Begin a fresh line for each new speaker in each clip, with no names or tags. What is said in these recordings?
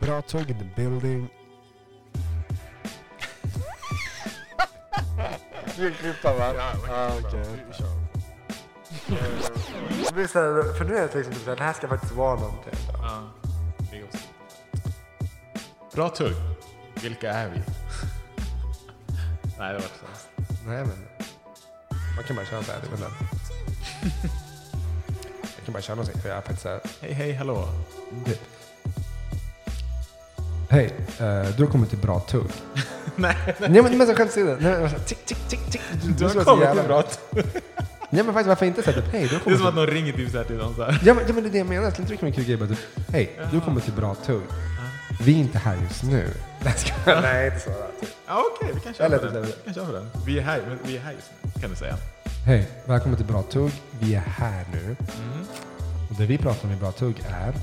Bra tugg in the building.
Vi klipper va? Ja,
okej.
Eh,
Det blir så här, för nu är det liksom så här, det här ska faktiskt vara någonting.
Ja, det är gott. Bra tugg. Vilka är vi? Nej, det var också hemskt.
Nej men. Man kan bara känna såhär, jag Jag kan bara känna sig, för jag är faktiskt såhär.
Hej, hej, hallå.
Typ. Hej, eh, du har kommit till bra tugg.
Nej,
Nej men, men så skämtsidan. Nej, men så här, Tick, tick, tick, tick. Du,
du
du
har
så
kommit
jävla-
till bra tugg.
Nej men faktiskt varför inte såhär typ, hej du har
Det är
kommit
som att
till...
någon ringer typ så här till någon så här.
Ja men, ja men det är det jag menar, skulle inte du kunna kul grej bara typ, hej du har kommit till bra tugg. Vi är inte här just nu. Nej, ska jag- Nej inte så. Typ.
Ja, okej, vi kan
Eller
köra
typ
på den.
det.
Vi kan köra på den. Vi är här, men vi är här just nu, kan du säga.
Hej, välkommen till Bra Tugg. Vi är här nu. Och det vi pratar om i Bra Tugg är...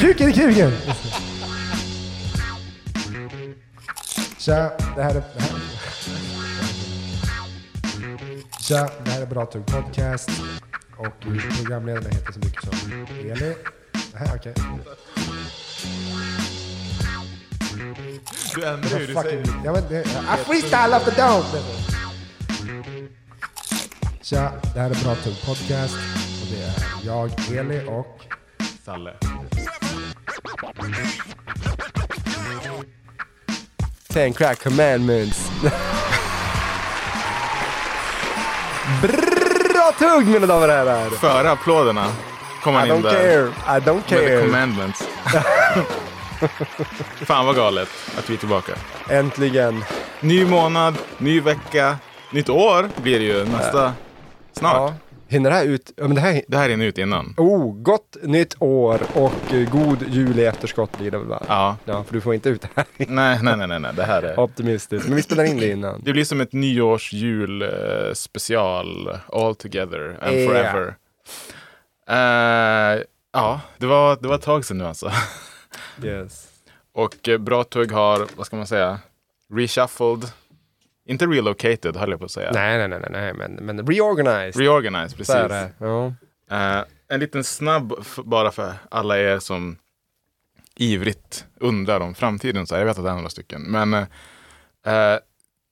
Kuken i kuken! Tja, det här är... Det här. Tja, det här är Bra Tugg Podcast. Och programledarna heter så mycket som Eli. Nej, okej.
Du ändrar hur du säger.
Fucking- Jag vet inte. I freestyle after down! Tja, det här är Bra Tugg Podcast. Och det är jag, Eli och...
Salle.
Ten crack commandments. Bra tugg mina damer och herrar.
Före applåderna kom
I don't care. I don't care.
commandments. Fan vad galet att vi är tillbaka.
Äntligen.
Ny månad, ny vecka, nytt år blir det ju nästa snart.
Ja. Hinner det här ut? Ja, men det här...
Det här är nu ut innan.
Oh, gott nytt år och eh, god jul i efterskott blir det väl va?
Ja.
Ja, Mm. för du får inte ut det här.
Nej, nej, nej, nej, nej. det här är...
Optimistiskt. Men vi spelar in det innan.
Det blir som ett nyårsjul eh, special all together and
Ja.
forever. Eh, ja, det var, det var ett tag sedan nu alltså.
Yes.
Och eh, Bra Tugg har, vad ska man säga, reshuffled, inte relocated höll jag på att säga.
Nej, nej, nej, nej, nej, men, men reorganized.
Reorganized,
Så är
precis.
det. Ja.
Eh, en liten snabb, f- bara för alla er som ivrigt undrar om framtiden. Så här, jag vet att det är några stycken. Men eh, eh,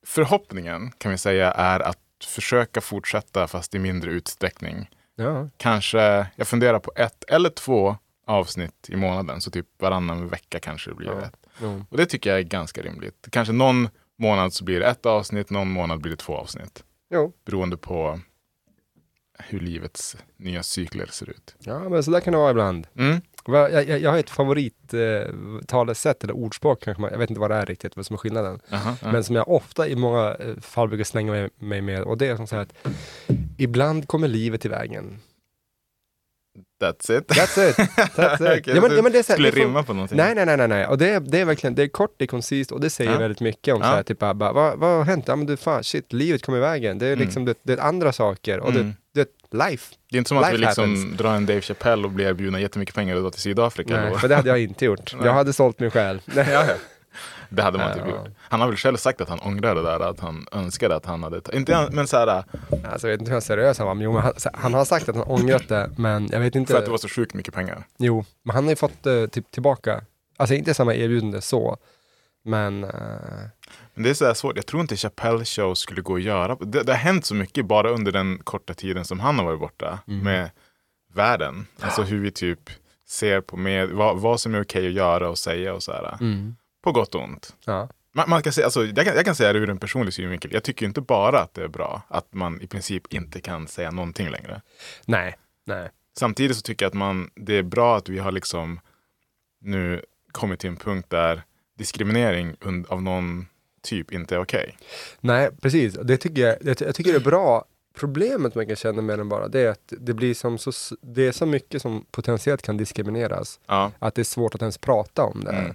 förhoppningen kan vi säga är att försöka fortsätta fast i mindre utsträckning.
ja.
Kanske, jag funderar på ett eller två avsnitt i månaden. Så typ varannan vecka kanske det blir
Ja.
ett.
Jo.
Och det tycker jag är ganska rimligt. Kanske någon månad så blir det ett avsnitt, någon månad blir det två avsnitt.
Jo.
Beroende på hur livets nya cykler ser ut.
Ja, men så där kan det vara ibland.
Mm.
Va- Jag, jag, jag har ett favorittalesätt eh, talesätt, eller ordspråk kanske man, jag vet inte vad det är riktigt, vad som är skillnaden.
Aha, ja.
Men som jag ofta i många eh, fall brukar slänga mig, mig med och det är som så här att ibland kommer livet i vägen.
That's it.
That's it! That's it.
Okej,
ja, men,
du
ja, men det är så här,
skulle
det får-
rimma på någonting.
Nej, nej, nej, nej, nej. Och det är, det är verkligen, det är kort, det är koncist och det säger
Ja.
väldigt mycket om
Ja.
så här, typ bara, bara, vad, vad har hänt? Ja, men du, fan, shit, livet kom i vägen. Det är
Mm.
liksom, det, det är andra saker och
Mm.
det, det är life.
Det är inte som att vi
Life
liksom
happens.
drar en Dave Chappelle och blir erbjudna jättemycket pengar och drar till Sydafrika.
Nej,
då.
för det hade jag inte gjort. Jag hade sålt min själ.
Det hade man typ
Ja.
gjort. Han har väl själv sagt att han ångrar det där, att han önskade att han hade... ta- Inte
Mm.
han- men så här,
Alltså, jag vet inte hur seriös han var, men, jo, men han, så- han har sagt att han ångrat det, men jag vet inte.
för att det var så sjukt mycket pengar.
Jo, men han har ju fått eh, typ tillbaka, alltså inte samma erbjudande så, men eh,
Men det är så här svårt, jag tror inte Chappelle show skulle gå att göra. Det, det har hänt så mycket bara under den korta tiden som han har varit borta
Mm.
med världen. Alltså hur vi typ ser på med, vad, vad som är okej att göra och säga och så här.
Mm.
På gott och ont.
ja.
Man, man kan säga, alltså, jag, kan, jag kan säga det ur en personlig synvinkel. Jag tycker ju inte bara att det är bra att man i princip inte kan säga någonting längre.
Nej, nej.
Samtidigt så tycker jag att man, det är bra att vi har liksom nu kommit till en punkt där diskriminering und- av någon typ inte är okej.
Nej, precis. Det tycker jag, jag, ty- jag tycker det är bra. Problemet man kan känna med den bara, det är att det blir som så, s- det är så mycket som potentiellt kan diskrimineras,
Ja.
att det är svårt att ens prata om det.
Mm.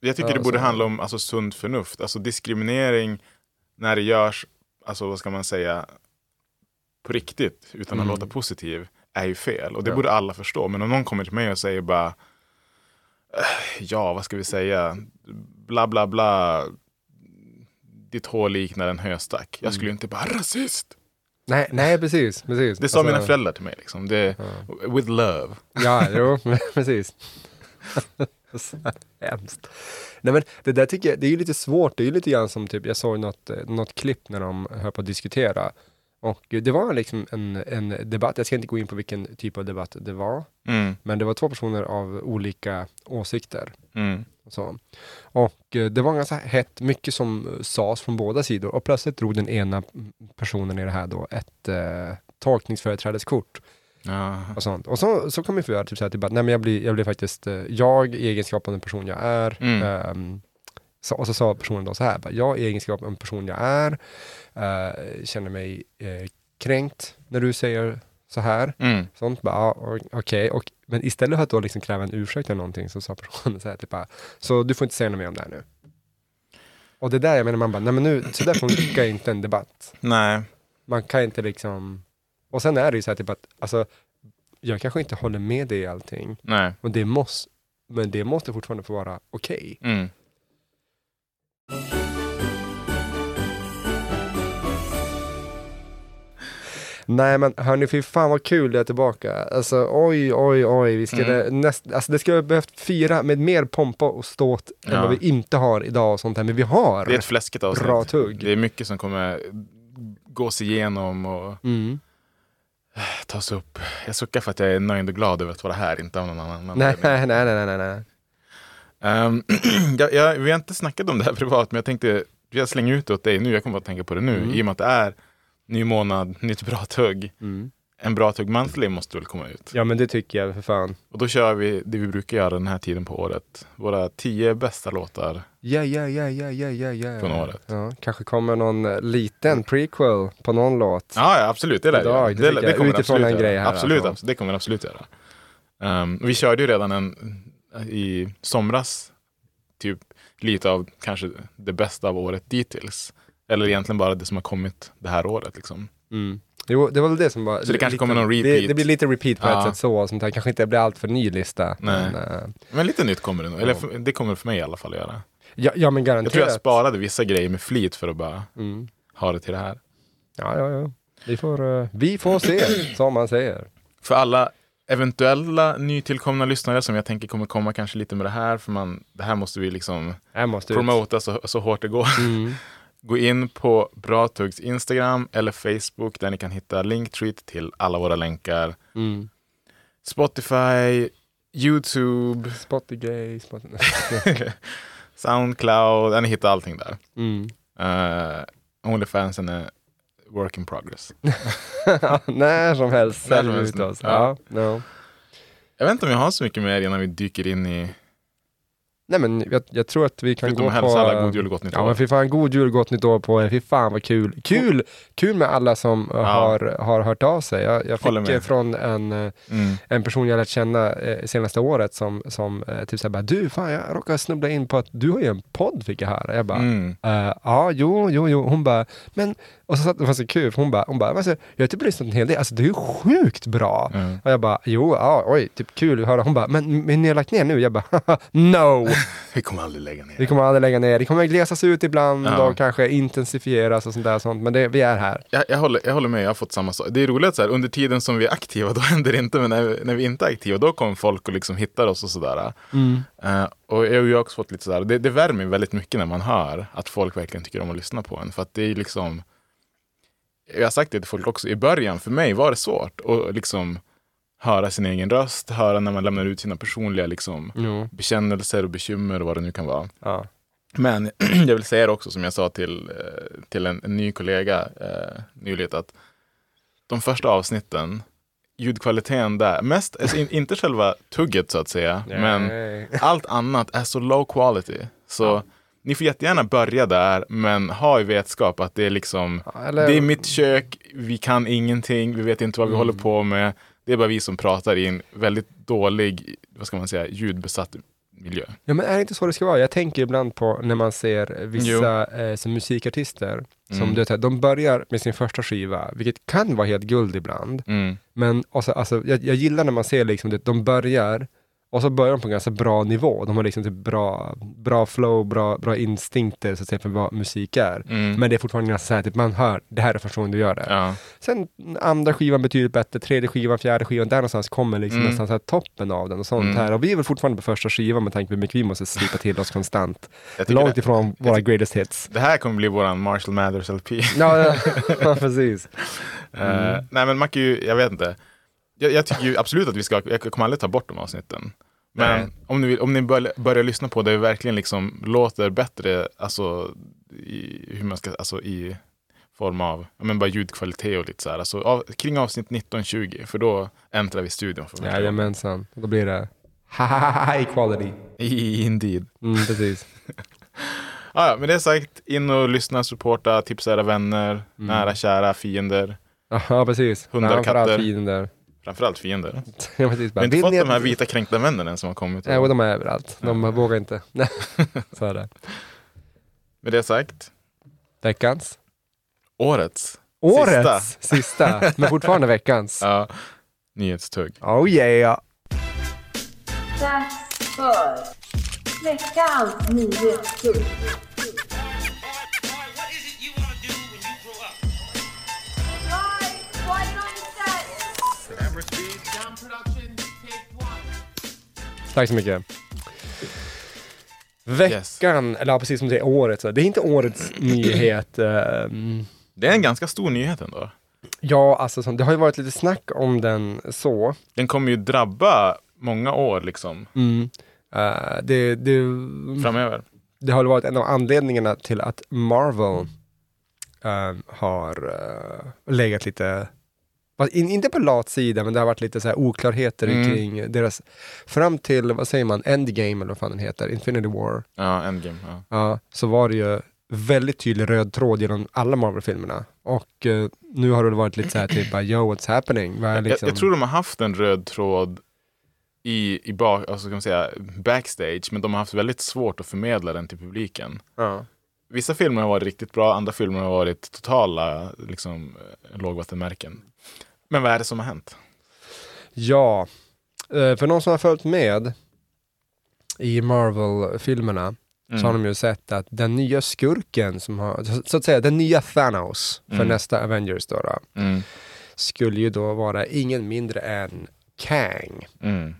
Jag tycker
Ja,
det borde
så-
handla om alltså, sunt förnuft. Alltså diskriminering när det görs, alltså vad ska man säga, på riktigt utan att
Mm.
låta positiv är ju fel. Och det
Ja.
borde alla förstå. Men om någon kommer till mig och säger bara, "Äh, "Eh, ja vad ska vi säga, bla bla bla, ditt hår liknar en höstack. Jag
Mm.
skulle ju inte bara rasist.
Nej, nej precis. precis.
Det sa
Alltså,
mina föräldrar till mig. Liksom. Det, With love.
Ja, jo, precis. Så Hemskt. Nej men det där tycker jag, det är ju lite svårt. Det är ju lite grann som typ, jag såg något, eh, något klipp när de höll på att diskutera. Och eh, det var liksom en, en debatt, jag ska inte gå in på vilken typ av debatt det var.
Mm,
Men det var två personer av olika åsikter.
mm,
Och, så. och eh, det var ganska hett, mycket som eh, sades från båda sidor. Och plötsligt drog den ena personen i det här då ett eh, tolkningsföreträdeskort
ja.
och sånt. Och så, så kommer vi få göra typ så här, typ, att, nej men jag blir, jag blir faktiskt, eh, jag i egenskap av den person jag är,
Mm.
ehm, så, och så sa personen då så här, bara, jag i egenskap av den person jag är, eh, känner mig eh, kränkt när du säger så här.
Mm.
Sånt bara, ja, och- okej, Och- men istället för att då liksom kräva en ursäkt eller någonting så sa personen så här, typ bara, så du får inte säga något mer om det här nu. Och det där, jag menar man bara, nej men nu, så där funkar inte en debatt
Nej.
man kan inte liksom... Och sen är det ju så här typ att, alltså, jag kanske inte håller med dig i allting,
Nej.
men det måste, men det måste fortfarande få vara okej.
Mm.
Nej men hörni, fy fan vad kul det är tillbaka. Alltså oj, oj, oj. Vi skulle näst, alltså, det skulle vi behövt fira med mer pompa och ståt än
Ja.
vad vi inte har idag och sånt här. Men vi har.
Det är ett fläskigt avsnitt.
Bra tugg.
Det är mycket som kommer gås igenom och
Mm.
tas upp. Jag suckar för att jag är nöjd och glad över att vara här, inte av någon annan
Nej,
anledning.
nej, nej, nej, nej, nej.
Ehm, jag, jag, vi har inte snackat om det här privat, men jag tänkte jag slänger ut det åt dig nu. Jag kommer bara att tänka på det nu.
Mm.
I och med att det är ny månad, nytt bra tugg.
Mm.
En bra tugg monthly måste väl komma ut.
Ja men det tycker jag för fan.
Och då kör vi det vi brukar göra den här tiden på året. Våra tio bästa låtar.
Ja, ja, ja, ja, ja, ja, ja.
Från året.
Ja, kanske kommer någon eh, liten prequel på någon låt.
Ja, ja absolut. Det lär
Idag,
jag.
det
Det,
tycker jag,
kommer den
utifrån
absolut
en
göra.
grej här,
absolut,
alltså.
abs- det kommer den absolut göra. Ehm, vi körde ju redan en i somras, typ lite av kanske det bästa av året dittills. Eller egentligen bara det som har kommit det här året. Liksom.
Mm. Jo, det var väl det som var...
Så det kanske
lite,
kommer någon repeat.
Det, det blir lite repeat på
Ja.
ett sätt så, sånt här. kanske inte blir allt för ny lista.
Nej.
Men, eh,
Men lite nytt kommer det nog. Eller för, det kommer det för mig i alla fall att göra.
ja, ja, men
Jag tror
garanterat.
jag sparade vissa grejer med flit för att bara
Mm.
ha det till det här.
Ja, ja, ja. Vi får, eh, vi får se, som man säger.
För alla eventuella nytillkomna lyssnare som jag tänker kommer komma kanske lite med det här, för man, det här måste vi liksom
Här måste ut.
promota så, så hårt det går.
Mm.
Gå in på Bratugs Instagram eller Facebook där ni kan hitta linktreat till alla våra länkar.
Mm.
Spotify, YouTube,
Spotify, Spotify.
Soundcloud, där ni hittar allting där.
Mm.
Uh, Onlyfansen är work in progress.
När som helst
När som
säljer vi
helst.
ut oss. Ja.
Ja.
no.
Jag vet inte om jag har så mycket mer innan vi dyker in i,
Nej, men jag, jag tror att vi kan
förutom
gå
att
på...
hälsa alla
eh,
god jul och gott nytt
Ja men
år.
fy fan, god jul, gott nytt år på er. Fy fan vad kul. Kul, kul med alla som eh, har, har hört av sig. Jag, jag
Håller
fick
med.
eh, från en, eh,
Mm.
en person jag lärt känna eh, senaste året som, som eh, typ såhär bara, du fan jag råkade snubbla in på att du har ju en podd fick jag höra. Jag bara,
Mm.
eh, ja jo, jo, jo. Hon bara, men, och så satt det var så kul, för hon bara, hon bara alltså, jag har typ lyssnat en hel del, alltså det är ju sjukt bra.
Mm.
Och jag bara, jo, ja, oj, typ kul att höra. Hon bara, men, men ni har lagt ner nu? Jag bara, haha, no!
Vi kommer aldrig lägga ner.
Vi kommer aldrig lägga ner. Det kommer glesas ut ibland
Ja.
och kanske intensifieras och sånt där. Sånt. Men det, vi är här.
Jag, jag, håller, jag håller med, jag har fått samma sak. Det är roligt att så här, under tiden som vi är aktiva, då händer det inte. Men när, när vi inte är aktiva, då kommer folk och liksom hittar oss och sådär. Eh, och jag, jag har också fått lite sådär, det, det värmer ju väldigt mycket när man hör att folk verkligen tycker om att lyssna på en. För att det är liksom, jag har sagt det till folk också, i början för mig var det svårt att liksom höra sin egen röst, höra när man lämnar ut sina personliga liksom,
Jo.
bekännelser och bekymmer och vad det nu kan vara.
Ja.
Men jag vill säga det också som jag sa till, eh, till en, en ny kollega eh, nyligen att de första avsnitten, ljudkvaliteten där, mest, alltså in, inte själva tugget så att säga, men
Nej.
allt annat är så low quality. Så ni får jättegärna börja där, men ha i vetskap att det är liksom,
Ja, eller- Mm.
det är mitt kök, vi kan ingenting, vi vet inte vad vi håller på med. Det är bara vi som pratar i en väldigt dålig, vad ska man säga, ljudbesatt miljö.
Ja, men är det inte så det ska vara? Jag tänker ibland på när man ser vissa eh, som musikartister, som
Mm.
du vet, de börjar med sin första skiva, vilket kan vara helt guld ibland.
Mm.
Men alltså, alltså, jag, jag gillar när man ser liksom, det, de börjar Och så börjar de på en ganska bra nivå. De har liksom typ bra, bra flow, bra, bra instinkter så att säga, för vad musik är.
Mm.
Men det är fortfarande ganska så här, typ, man hör, det här är första gången du gör det.
Ja.
Sen andra skivan betydligt bättre, tredje skivan, fjärde skivan, där någonstans kommer liksom
Mm.
nästan så här toppen av den och sånt
Mm.
här. Och vi är väl fortfarande på första skivan med tanke på hur mycket vi måste slipa till oss konstant.
Jag tycker
Långt
det,
ifrån våra greatest hits.
det här kommer bli våran Marshall Mathers LP.
Ja, ja, ja, precis.
Eh, nej men Mac är ju, jag vet inte. Jag, jag tycker ju absolut att vi ska, jag kommer aldrig ta bort de avsnitten.
Nej.
Men om ni, vill, om ni bör, börjar lyssna på det verkligen liksom låter bättre, alltså i, hur man ska, alltså i form av, ja, men bara ljudkvalitet och lite så här. Alltså av, kring avsnitt 19-20, för då äntrar vi studion för första gången.
Jajamensan, då blir det high quality.
I- Indeed.
Mm, precis.
Ah, ja, men det sagt, in och lyssna, supporta, tipsa era vänner, nära, kära, fiender.
Ja, precis.
Hundar,
Framförallt
katter.
tiden där.
Framförallt fiender.
Ja, precis.
Vi har
Bara,
inte
vill
fått
ni
de här
att-
vita kränkta männen än som har kommit.
Nej, och de är överallt. De vågar inte. så är det.
Med det sagt,
Veckans?
årets
Årets sista, men fortfarande veckans.
ja, nyhetstugg.
Oh yeah!
Dags för veckans nyhetstugg.
What is it you want to do when you grow up?
Tack så mycket. Veckan, eller ja, precis som du säger, året. Så. Det är inte årets nyhet. ehm,
Det är en ganska stor nyhet ändå.
ja, alltså som, det har ju varit lite snack om den så.
Den kommer ju drabba många år liksom
Mm. Eh, det, det,
framöver.
det har väl varit en av anledningarna till att Marvel
Mm.
ehm, har eh, legat lite, fast in, inte på lat sida, men det har varit lite så här oklarheter
Mm.
kring deras, fram till, vad säger man, Endgame eller vad fan den heter, Infinity War.
Ja, Endgame. Ja.
ja, så var det ju väldigt tydlig röd tråd genom alla Marvel-filmerna. Och eh, nu har det varit lite så här typ, bara, yo what's happening? Vad är liksom...
Jag, jag tror de har haft en röd tråd i, i bak, alltså, ska man säga, backstage, men de har haft väldigt svårt att förmedla den till publiken.
ja.
Vissa filmer har varit riktigt bra, andra filmer har varit totala liksom, eh, lågvattenmärken. Men vad är det som har hänt?
ja. Eh, för någon som har följt med i Marvel-filmerna så
Mm.
har de ju sett att den nya skurken som har, så- så att säga den nya Thanos för
Mm.
nästa Avengers då, då,
Mm.
skulle ju då vara ingen mindre än Kang.
Mm.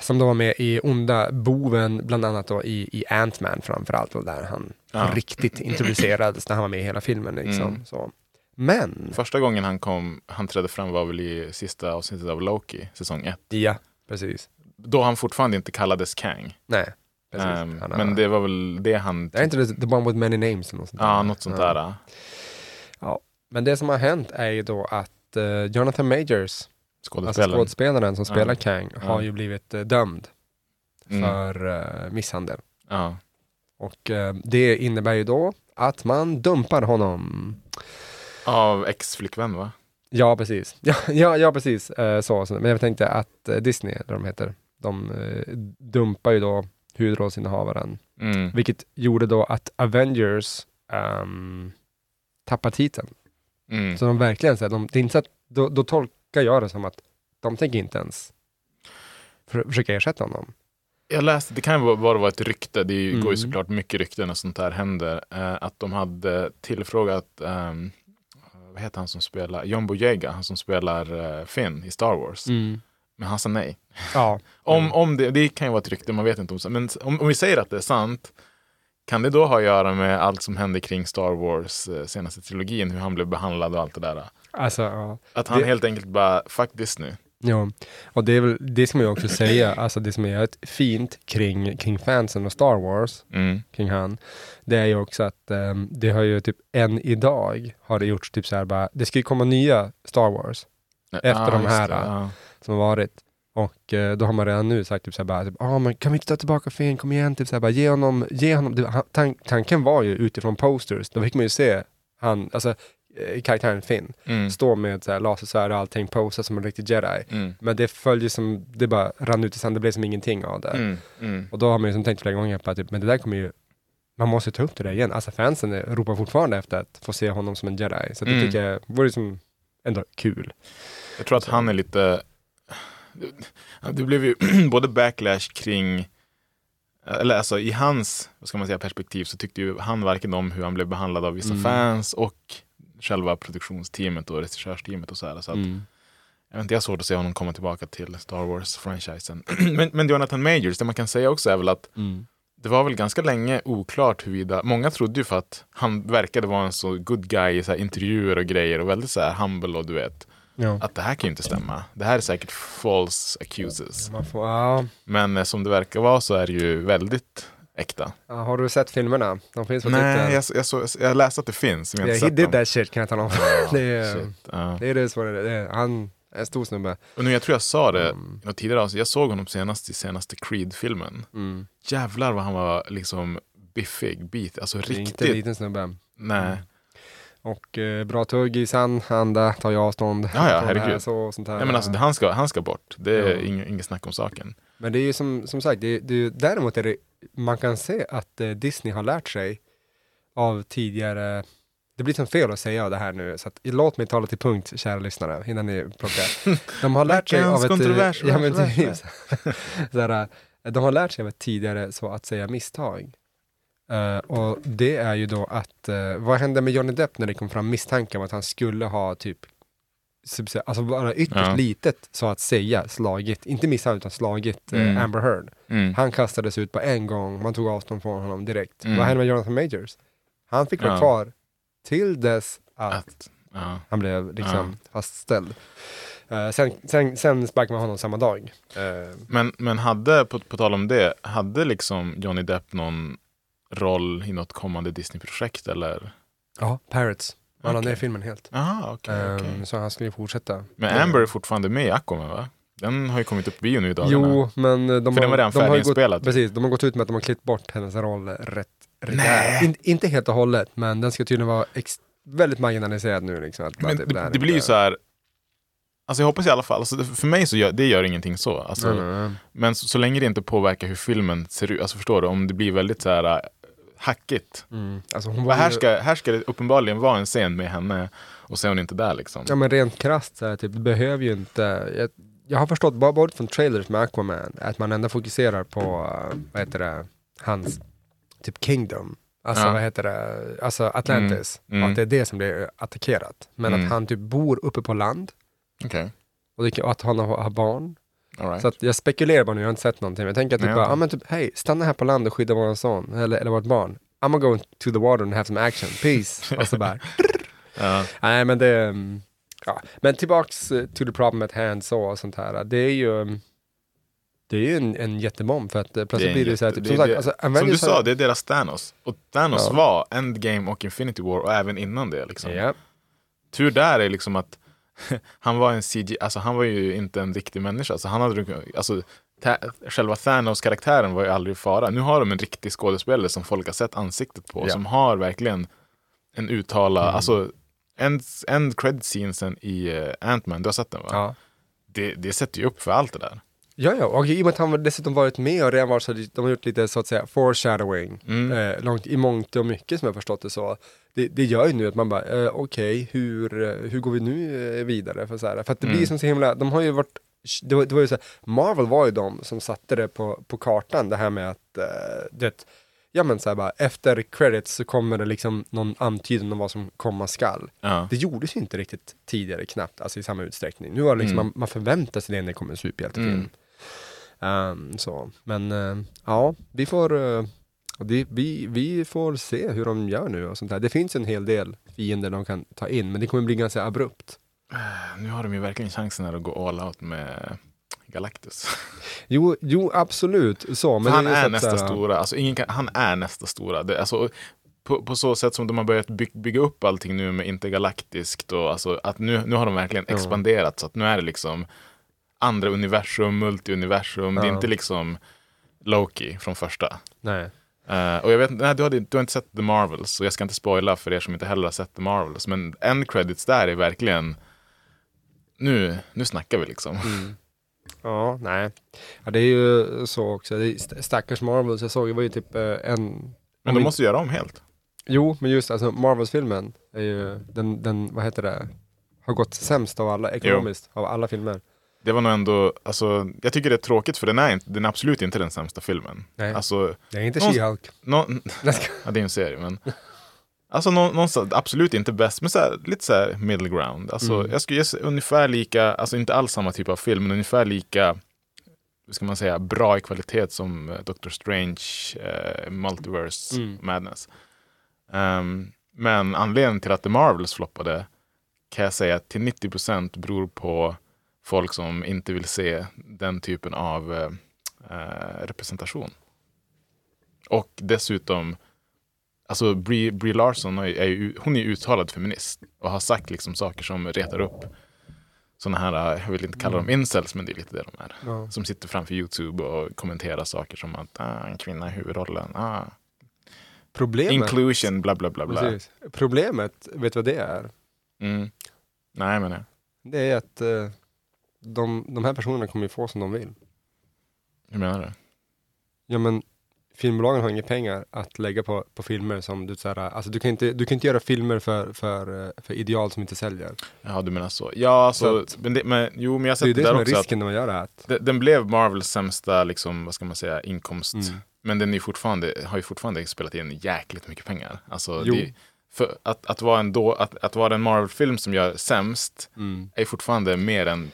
som då var med i Onda boven, bland annat då i, i Ant-Man framförallt, och där han
Ja.
riktigt introducerades när han var med i hela filmen. Liksom.
Mm.
Så. Men,
Första gången han kom, han trädde fram var väl i sista avsnittet av Loki, säsong 1.
ja, precis.
Då han fortfarande inte kallades Kang.
Nej, precis.
Ehm,
Han har-
men det var väl det han...
det är inte det- The One With Many Names eller något sånt
Ja, något sånt
Ja.
där. ja.
Men det som har hänt är ju då att eh, Jonathan Majors, alltså
Skådespelaren.
skådespelaren som
Ja.
spelar Kang, har
Ja.
ju blivit eh, dömd
Mm.
för eh, misshandel.
ja.
Och eh, det innebär ju då att man dumpar honom.
Av ex-flickvän va?
Ja, precis. Ja, ja, ja precis. Eh, så, så. Men jag tänkte att eh, Disney, eller vad de heter, de eh, dumpar ju då huvudrollsinnehavaren.
Mm.
Vilket gjorde då att Avengers um, tappade titeln.
Mm.
Så de verkligen, så här, de, det är inte så att, då, då tolkar jag det som att de tänker inte ens för, försöka ersätta honom.
Jag läste, det kan ju bara vara ett rykte, det är ju,
Mm.
går ju såklart mycket rykten när sånt här händer, eh, att de hade tillfrågat, ehm, vad heter han som spelar, John Boyega, han som spelar eh, Finn i Star Wars.
Mm.
Men han sa nej.
Ja.
Om, om det, det kan ju vara ett rykte, man vet inte om så- Men om, om vi säger att det är sant, kan det då ha att göra med allt som hände kring Star Wars eh, senaste trilogin, hur han blev behandlad och allt det där?
Alltså, ja.
Att han
Det-
helt enkelt bara, fuck Disney.
Ja, och det är väl, det ska man ju också säga, alltså det som är ett fint kring, kring fansen och Star Wars,
Mm.
kring han, det är ju också att ehm, det har ju typ än idag har det gjorts typ så här bara, det ska ju komma nya Star Wars Efter de
just
här,
det, ja.
som har varit och eh, då har man redan nu sagt typ så här bara, typ, ah, men kan vi inte ta tillbaka Finn, kom igen, typ så här bara, ge honom, ge honom. Det, han, tan- tanken var ju utifrån posters, då fick man ju se han, alltså eh, karaktären Finn,
Mm.
stå med så här lasersvärd och allting, posa som en riktig jedi.
Mm.
Men det följer som, det bara rann ut i sanden, det blev som ingenting av det.
Mm. Mm.
Och då har man ju som tänkt flera gånger på att typ, men det där kommer ju, man måste ju ta upp det där igen. Alltså fansen är- ropar fortfarande efter att få se honom som en jedi. Så att det
Mm.
tycker jag vore som ändå kul.
Jag tror att han är lite, det- det blev ju både backlash kring, eller alltså i hans, vad ska man säga, perspektiv så tyckte ju han varken om hur han blev behandlad av vissa fans och själva produktionsteamet och regissörsteamet och så här. Så
Mm.
att, jag, vet inte, jag har svårt att se honom komma tillbaka till Star Wars-franchisen. men, men Jonathan Majors, det man kan säga också är väl att det var väl ganska länge oklart huruvida, många trodde ju för att han verkade vara en så good guy i så här intervjuer och grejer och väldigt så här humble och du vet,
Ja.
att det här kan ju inte stämma. Det här är säkert false accuses.
Man får, ja.
Men eh, som det verkar vara så är det ju väldigt äkta.
Ja, Har du sett filmerna? De finns på
Nej,
Twitter.
jag, jag, så, jag läste att det finns, men jag
typ Yeah,
har
he
inte
did
sett dem.
that shit kan jag tala om. det, är,
Shit, ja.
det är det som är det. det är, han är en stor snubbe.
Och nu, jag tror jag sa det
Mm.
i något tidigare avsnitt, jag såg honom senast i senaste Creed-filmen.
Mm.
Jävlar vad han var liksom biffig, bit, alltså
Det är Inte Mm. en
riktigt.
liten snubbe.
Nej.
Och eh, bra tugg i sand, anda, tar jag avstånd.
ja,
från det här,
herregud.
Så, och sånt här.
Nej men alltså det- han ska, han ska bort, det är
Ja.
ing, inget snack om saken.
Men det är ju som, som sagt, det är, det är, ju- däremot är det, man kan se att eh, Disney har lärt sig av tidigare, det blir som fel att säga det här nu, så att, låt mig tala till punkt, kära lyssnare, innan ni plockar. De har lärt sig av
Veckans
ett...
kontrovers,
eh, ja, men
kontrovers,
typ så här, eh, de har lärt sig av ett tidigare så att säga misstag. Eh, och det är ju då att, eh, vad hände med Johnny Depp när det kom fram misstankar om att han skulle ha typ subse- Alltså bara ytterst
Ja.
litet så att säga slagit, inte misshandlat utan slagit eh,
Mm.
Amber Heard.
Mm.
Han kastades ut på en gång, man tog avstånd från honom direkt.
Mm.
Vad hände med Jonathan Majors? Han fick vara
Ja.
kvar till dess att
Att, ja.
han blev liksom fastställd. Eh, sen, sen, sen sparkade man honom samma dag. Eh,
Men, men hade, på, på tal om det, hade liksom Johnny Depp någon roll i något kommande Disney-projekt eller?
Ja, Parrots. Man la
Okej.
ner filmen helt.
Aha, okej.
Ehm,
okej.
Så han skulle ju fortsätta.
Men Amber är fortfarande med i Aquaman va? Den har ju kommit upp bio nu i dagarna.
Jo, men eh, de
För den var
har,
redan
de har ju gått,
färdiginspelad.
precis, de har gått ut med att de har klippt bort hennes roll rätt rejält. In, inte helt och hållet, men den ska tydligen vara ex, väldigt marginaliserad nu. Liksom, att bara
Men
typ,
det,
här
det blir ju
inte-
så här, alltså jag hoppas i alla fall, alltså det, för mig så gör det gör ingenting så. Alltså,
Nej, nej, nej.
Men så, så länge det inte påverkar hur filmen ser ut, alltså förstår du, om det blir väldigt så här äh, hackigt.
Mm. Alltså, hon
Och
var
här,
ju-
ska, här ska det uppenbarligen vara en scen med henne och så är hon inte där liksom.
Ja men rent krasst så här, typ, det behöver ju inte, jag, jag har förstått bara både från trailers med Aquaman, att man ändå fokuserar på, eh, vad heter det, hans, typ Kingdom. Alltså
Ja.
vad heter det, alltså Atlantis.
Mm.
Och att det är det som blir attackerat. Men
Mm.
att han typ bor uppe på land
Okej,
och, det, och att han har, har barn.
alright.
Så att jag spekulerar bara nu, jag har inte sett någonting. Men jag tänker att typ
Nej,
bara,
okej.
ja men typ, hej, stanna här på land och skydda våran son, eller, eller vårt barn. I'm gonna go to the water and have some action, peace. Och så bara,
Ja.
Nej, men det... mm, Ja. Men tillbaks eh, to the problem at hand så och sånt här. Det är ju... mm, Det är ju en, en jättebomb för att eh,
Det är
plötsligt
en
blir det ju
jätte-
så här, typ,
det
som
är
sagt,
det-
alltså,
som du
Avengers har-
sa, det är deras Thanos. Och Thanos
Ja.
var Endgame och Infinity War och även innan det. Liksom.
Ja,
Tur där är liksom att han var en CG, alltså han var ju inte en riktig människa. Alltså han hade, alltså, ta, själva Thanos-karaktären var ju aldrig i fara. Nu har de en riktig skådespelare som folk har sett ansiktet på,
Ja. Mm.
som har verkligen en uttala, alltså end, end credit scenesen i eh, Ant-Man, du har sett den va?
ja.
Det, det sätter ju upp för allt det där.
Ja, ja, och i och med att han dessutom varit med och redan varit så, de har gjort lite så att säga foreshadowing, eh, långt, i mångt och mycket som jag förstått det så. Det, det gör ju nu att man bara, eh, okej, hur, eh, hur går vi nu eh, vidare? För, så här, för att det blir som så himla, de har ju varit, det var, det var ju så här, Marvel var ju de som satte det på, på kartan, det här med att, eh, du vet, ja men så här bara, efter credits så kommer det liksom någon antydan om vad som komma skall.
Ja.
Det gjordes ju inte riktigt tidigare knappt, alltså i samma utsträckning. Nu var det liksom,
Mm.
man, man förväntar sig det när det kommer en superhjältefilm. Ehm, så. Men eh, ja, vi får, eh, det, vi, vi får se hur de gör nu och sånt där. Det finns en hel del fiender de kan ta in, men det kommer bli ganska abrupt.
Nu har de ju verkligen chansen här att gå all out med Galactus.
Jo, jo absolut. Så, men
För han
det ju så
är
att
nästa
säga-
stora. Alltså, ingen kan, han är nästa stora. Det, alltså, på, på så sätt som de har börjat by, bygga upp allting nu med intergalaktiskt och alltså, att nu, nu har de verkligen expanderat så att nu är det liksom andra universum, multiuniversum. Det är
Ja.
inte liksom Loki från första.
Nej.
Eh, och jag vet, nej, du, har, du har inte sett The Marvels och jag ska inte spoila för er som inte heller har sett The Marvels. Men end credits där är verkligen, nu, nu snackar vi liksom.
Ja, nej. Ja, det är ju så också. Det är st- stackars Marvels, jag såg, det var ju typ eh, en...
Men de måste göra om helt.
Jo, men just alltså Marvels-filmen är ju, den, den, vad heter det, har gått sämst av alla, ekonomiskt, av alla filmer.
det var nog ändå, alltså, jag tycker det är tråkigt för den är, inte, den är absolut inte den sämsta filmen.
Nej.
Alltså,
Det är inte
Någon-
She-Hulk.
nå, ja, det är ju en serie men. Alltså nå, någonstans, absolut inte bäst, men så här, lite så här middle ground. Alltså, Jag skulle ge sig ungefär lika, alltså inte alls samma typ av film, men ungefär lika, hur ska man säga, bra i kvalitet som eh, Doctor Strange, eh, Multiverse
Mm.
Madness. Ehm, men anledningen till att The Marvels floppade kan jag säga till 90 procent beror på folk som inte vill se den typen av eh, eh, representation. Och dessutom, alltså Brie, Brie Larson är ju, är ju, hon är ju uttalad feminist och har sagt liksom saker som retar upp sådana här, eh, jag vill inte kalla
Mm.
dem incels, men det är lite det de är.
Ja.
Som sitter framför YouTube och kommenterar saker som att ah, en kvinna i huvudrollen, ah,
Problemet,
inclusion, bla bla bla. bla.
Precis. Problemet, vet du vad det är?
Mm. Nej men nej.
Det är att eh, de, de här personerna kommer ju få som de vill.
hur menar du?
Ja men filmbolagen har inga pengar att lägga på, på filmer som du såhär, alltså du kan inte, du kan inte göra filmer för, för, eh, för ideal som inte säljer.
Ja du menar så. Ja
Så
alltså, men, det, men jo men jag
Det
har
är ju
sett det
det som
där
är
också att
risken när man gör det här. att-
de- den blev Marvels sämsta liksom, vad ska man säga, inkomst.
Mm.
Men den är ju fortfarande, har ju fortfarande spelat in jäkligt mycket pengar. Alltså,
Jo.
det, för att, att, vara en då, att, att vara en Marvel-film som gör sämst
Mm.
är ju fortfarande mer än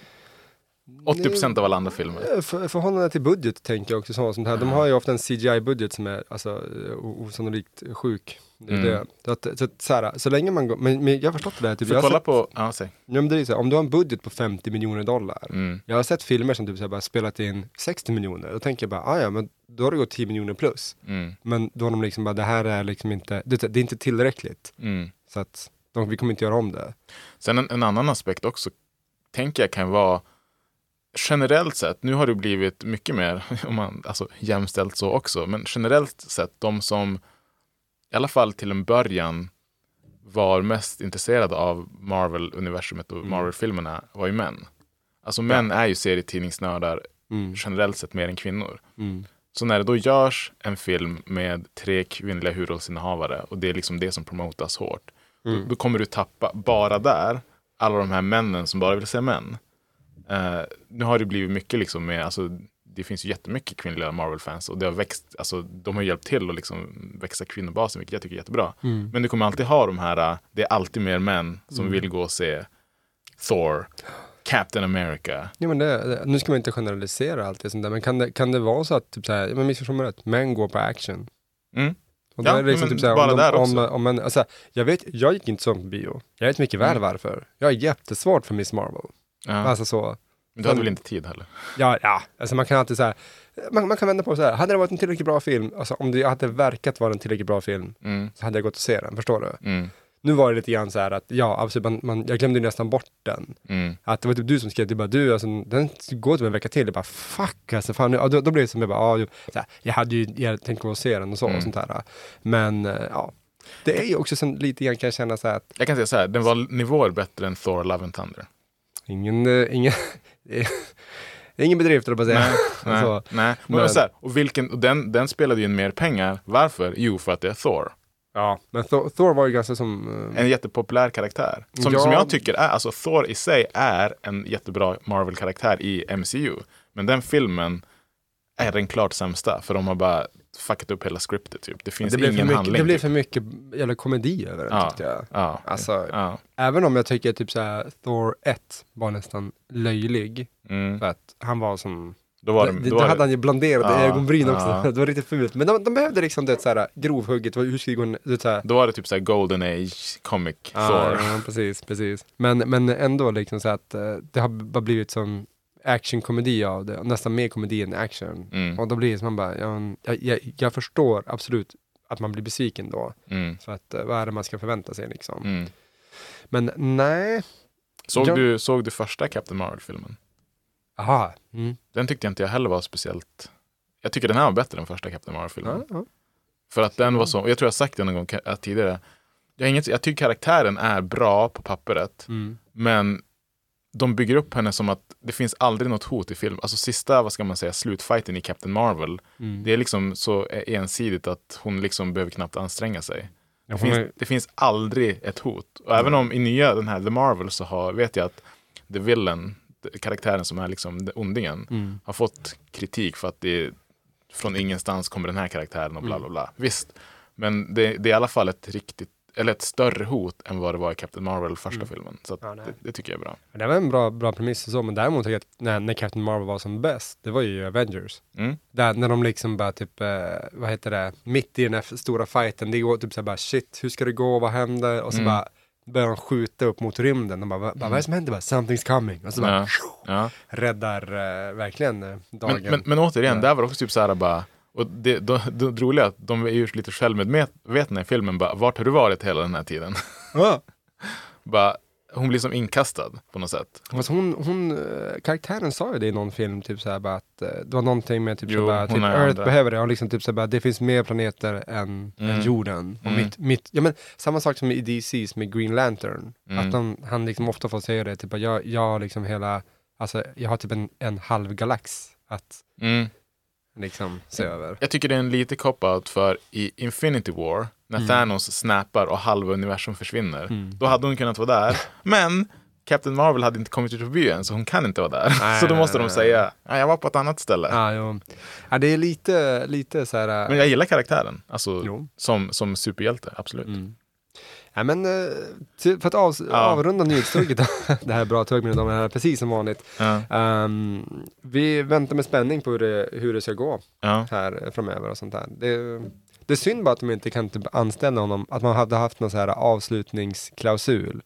80% av alla andra filmer.
Eh, För, förhållande till budget tänker jag också sånt sånt här. De har ju ofta en CGI-budget som är alltså, eh, o- osannolikt sjuk. Det är
Mm.
det. Så, att, så, att, så, här, så länge man går, men, men jag har förstått det där. Typ,
För
jag har
kolla
sett,
på, ja, säg.
ja, men det är ju så här, om du har en budget på 50 miljoner dollar.
Mm.
Jag har sett filmer som typ så här, bara spelat in 60 miljoner. Då tänker jag bara, "Ah, ja men då har det gått 10 miljoner plus.
Mm.
Men då har de liksom bara, det här är liksom inte, det, det är inte tillräckligt.
Mm.
Så att de, vi kommer inte göra om det.
Sen en, en annan aspekt också, tänker jag kan vara generellt sett, nu har det blivit mycket mer om man, alltså, jämställt så också, men generellt sett de som i alla fall till en början var mest intresserade av Marvel-universumet och Marvel-filmerna var ju män. Alltså män är ju serietidningsnördar
Mm.
generellt sett mer än kvinnor.
Mm.
Så när det då görs en film med tre kvinnliga huvudrollsinnehavare och det är liksom det som promotas hårt, då, då kommer du tappa, bara där, alla de här männen som bara vill se män. Eh, nu har det blivit mycket liksom med, alltså det finns ju jättemycket kvinnliga Marvel-fans och det har växt, alltså de har hjälpt till att liksom växa kvinnobasen, vilket jag tycker är jättebra. Men du kommer alltid ha de här, eh, det är alltid mer män som vill gå och se Thor, Captain America.
Jo, men det, det, nu ska man inte generalisera allt det sånt där, men kan det, kan det vara så att, typ så här, men missförstå mig rätt, män går på action?
Mm.
Och
Ja,
där är det liksom
men
typ såhär,
bara
om de,
där
om,
också.
om en, alltså, jag, vet, jag gick inte som bio. Jag vet mycket väl varför. Jag är jättesvårt för Miss Marvel.
Mm. Ja.
Alltså så,
Men du hade väl inte tid heller?
ja, ja. Alltså, man kan alltid så här, man, man kan vända på det så här. hade det varit en tillräckligt bra film, alltså om det hade verkat vara en tillräckligt bra film,
Mm.
så hade jag gått och se den, förstår du?
Mm.
Nu var det lite grann så här att, ja, absolut, man, man, jag glömde ju nästan bort den.
Mm.
Att det var typ du som skrev, du bara du, alltså, den går typ en vecka till. Jag bara fuck alltså, fan, nu- ja, då, då blev det som jag bara, ja, jo. så här, jag hade ju jag tänkt gå och se den och så
Mm.
och sånt här. Men eh, ja, det är ju också som lite grann kan jag känna så här att
Jag kan säga så här, den var nivåer bättre än Thor Love and Thunder.
ingen, eh, ingen, det är ingen bedrift höll jag på att säga.
Nej,
så,
nej. Men,
men-
Så här, och vilken, och den, den spelade ju in mer pengar. Varför? Jo, för att det är Thor.
ja, men Thor, Thor var ju ganska som, eh,
En jättepopulär karaktär. Som,
Ja.
som jag tycker är, alltså Thor i sig är en jättebra Marvel-karaktär i MCU. Men den filmen är den klart sämsta. För de har bara fuckat upp hela scriptet typ. Det finns
det, blev för
ingen
mycket,
handling.
det blev
typ.
för mycket jävla komedi över den
Ja.
tyckte jag.
Ja.
Alltså,
Ja.
även om jag tycker typ så här, Thor 1 var nästan löjlig,
Mm.
för att han var som
Då var det,
det, det,
då var
hade
det,
han ju blanderat
Ja,
i ögonbryn också.
ja.
Det var riktigt fult. Men de, de behövde liksom det såhär grovhugget, vad- hur ska vi gå ner- det såhär.
då var det typ så här Golden Age comic Thor.
ja, precis, precis. Men, men ändå liksom så att eh, det har bara blivit som actionkomedi av det, nästan mer komedi än action.
Mm.
Och då blir det som man bara, ja, men jag, jag, jag förstår absolut att man blir besviken då.
Mm.
För att eh, vad är det man ska förvänta sig liksom.
Mm.
Men nej,
Såg,
Jag-
du, såg du första Captain Marvel-filmen?
aha. Mm.
Den tyckte jag inte jag heller var speciellt. Jag tycker den här var bättre än första Captain Marvel-filmen.
Ja, ja.
För att den var så, och jag tror jag har sagt det någon gång ka- att tidigare. Jag, har inget, jag tycker karaktären är bra på pappret,
Mm.
men de bygger upp henne som att det finns aldrig något hot i film. Alltså sista, vad ska man säga, slutfighten i Captain Marvel.
Mm.
Det är liksom så ensidigt att hon liksom behöver knappt anstränga sig.
Ja,
Det
hon
finns,
är-
det finns aldrig ett hot. Och även om i nya den här The Marvel så har, vet jag att The Villain karaktären som är liksom ondingen
Mm.
har fått kritik för att det är, från ingenstans kommer den här karaktären och bla bla bla. Visst, men det, det är i alla fall ett riktigt eller ett större hot än vad det var i Captain Marvel första filmen. Så att
Ja, nej.
det, det tycker jag är bra.
Men Det var en bra, bra premiss och så, men däremot tycker jag att när, när Captain Marvel var som bäst, det var ju Avengers.
Mm.
Där, när de liksom bara typ, eh, vad heter det, mitt i den här f- stora fighten, det går typ såhär bara shit, hur ska det gå, vad händer?
Mm.
Och så bara börjar de skjuta upp mot rymden. De bara, "Va- vad är det som händer? Bara, Something's coming. Och så bara,
Ja. Ja.
räddar eh, verkligen eh, dagen.
Men, men, men återigen, där var det också typ så här bara, och det, då, då, det roliga är att de är ju lite självmedvetna i filmen, bara, vart har du varit hela den här tiden?
Ah!
bara, hon blir som inkastad på något sätt.
Fast hon, hon, eh, karaktären sa ju det i någon film, typ såhär bara att eh, det var någonting med typ,
Jo,
så bara,
hon
typ
är
Earth
andra. Mm.
behöver det, och liksom typ såhär bara, det finns mer planeter än, än jorden. Och mitt, mitt, ja men samma sak som i DCs med Green Lantern,
Mm.
att de, han liksom ofta får säga det, typ bara, jag, jag har liksom hela, alltså jag har typ en, en halv galax att
Mm.
liksom se över.
Jag tycker det är en lite cop-out för i Infinity War, när
Mm.
Thanos snappar och halva universum försvinner, då hade hon kunnat vara där. Men Captain Marvel hade inte kommit ut på byn, så hon kan inte vara där.
Nej,
så då
nej,
måste de
nej,
säga, ja, jag var på ett annat ställe.
Ja, jo. ja, det är lite, lite såhär... eh,
Men jag gillar karaktären, alltså,
Jo. Mm.
som, som superhjälte, absolut.
Ja, men, eh, ty- för att avs- avrunda nyhetstugget, det här är bra tugg mina damer och herrar, precis som vanligt.
Ja.
Ehm, vi väntar med spänning på hur det, hur det ska gå
Ja.
här framöver och sånt där. Det, det är synd bara att de inte kan typ anställa honom, att man hade haft någon så här avslutningsklausul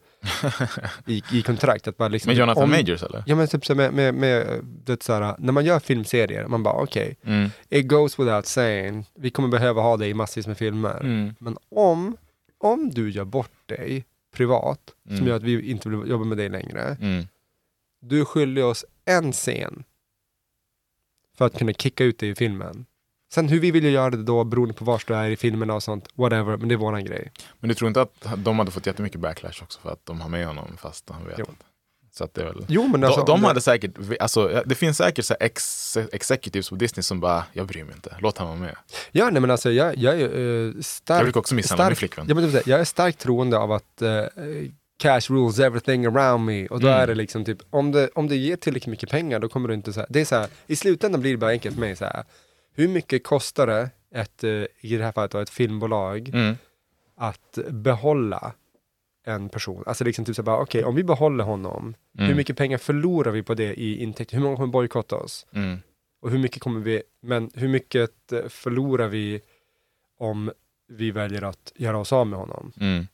i, i kontrakt. Att bara liksom,
Men Jonathan
om-
Majors eller?
Ja men typ så med, med, med det så här, när man gör filmserier, man bara okej,
Mm.
it goes without saying, vi kommer behöva ha dig i massvis med filmer.
Mm.
Men om, om du gör bort dig privat, som gör att vi inte vill jobba med dig längre,
Mm.
du är skyldig oss en scen för att kunna kicka ut dig i filmen. Sen hur vi vill göra det då, beroende på vart du är i filmerna och sånt, whatever, men det är våran grej.
Men du tror inte att de hade fått jättemycket backlash också för att de har med honom fast han vet
Jo.
att... Så att det är väl...
Jo, men
De,
alltså, om
de
det-
hade säkert, alltså, det finns säkert så här ex, executives på Disney som bara, jag bryr mig inte, låt han vara med.
Ja, nej men alltså jag, jag är uh, stark...
Jag brukar också misshandla min flickvän.
Ja, men typ så här, jag är starkt troende av att eh, cash rules everything around me. Och då
Mm.
är det liksom typ, om det, om det ger tillräckligt mycket pengar då kommer du inte så här, det är så här, i slutändan blir det bara enkelt för mig så här, hur mycket kostar det ett, eh, i det här fallet då, ett filmbolag
Mm.
att behålla en person? Alltså liksom typ så här bara, okej, om vi behåller honom,
mm,
hur mycket pengar förlorar vi på det i intäkter? Hur många kommer bojkotta oss?
Mm.
Och hur mycket kommer vi, men hur mycket eh, förlorar vi om vi väljer att göra oss av med honom?
Mm.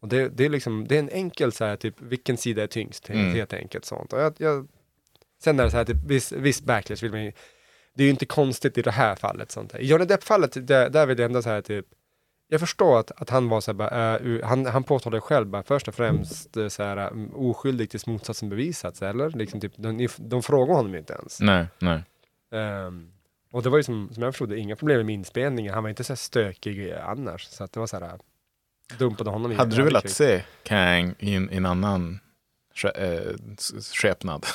Och det, det, är liksom, det är en enkel så här, typ, vilken sida är tyngst? helt-
Mm.
Helt enkelt sånt. Och jag, jag, sen är det så här, typ, viss, viss backlash vill man ju, det är ju inte konstigt i det här fallet. Sånt här. I Johnny Depp-fallet, där, där vill jag ändå så här, typ, jag förstår att, att han var så här, bara, eh, ur- han, han påtalade själv, bara, först och främst eh, så här, mm, oskyldig tills motsatsen bevisats, eller? Liksom, typ, de, ni- de frågar honom ju inte ens.
Nej, nej.
Ehm, och det var ju som, som jag förstod det, inga problem med inspelningen, han var inte så här stökig eh, annars, så att det var så här, dumpade honom i
Hade du
en
velat
krig.
se Kang i en, i en annan ske- eh, s- skepnad?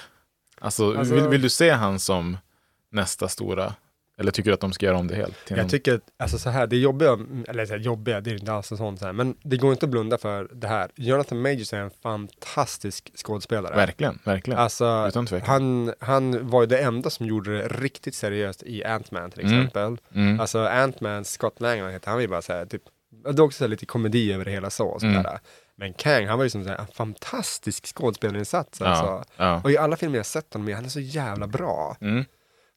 alltså,
Alltså-
vill, vill du se han som nästa stora? Eller tycker du att de ska göra om det helt? till
Jag
en-
tycker att, alltså så här, det jobbiga, eller så här, jobbiga, det är inte alls en sån så här, men det går inte att blunda för det här. Jonathan Majors är en fantastisk skådespelare.
Verkligen, verkligen.
Alltså,
Utan tvekan.
han, han var ju det enda som gjorde det riktigt seriöst i Ant-Man till
Mm.
exempel.
Mm.
Alltså Ant-Man, Scott Lang, vad han heter han, var ju bara så här, typ, det var också så här, lite komedi över det hela så. och så
Mm.
där. Men Kang, han var ju som så här, en fantastisk skådespelarinsats.
ja,
Alltså.
ja.
Och i alla filmer jag sett honom i, han är så jävla bra.
Mm.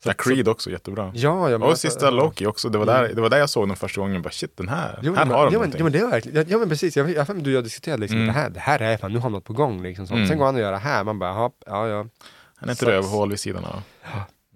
Ja, Creed också, jättebra.
Ja, alltså- jag
Och sista Loki också, det var, där, det var där jag såg den första gången, bara shit den här,
Jo,
här
men,
har de
jo, men,
någonting.
jo, men det är verkligen, ja, men precis, jag jag har för mig du och jag diskuterade liksom,
Mm.
det, här, det här är fan, nu har han något på gång liksom. Så.
Mm.
Sen går han och gör det här, man bara, jaha, ja, ja.
Han är ett
Sax.
rövhål vid sidan av.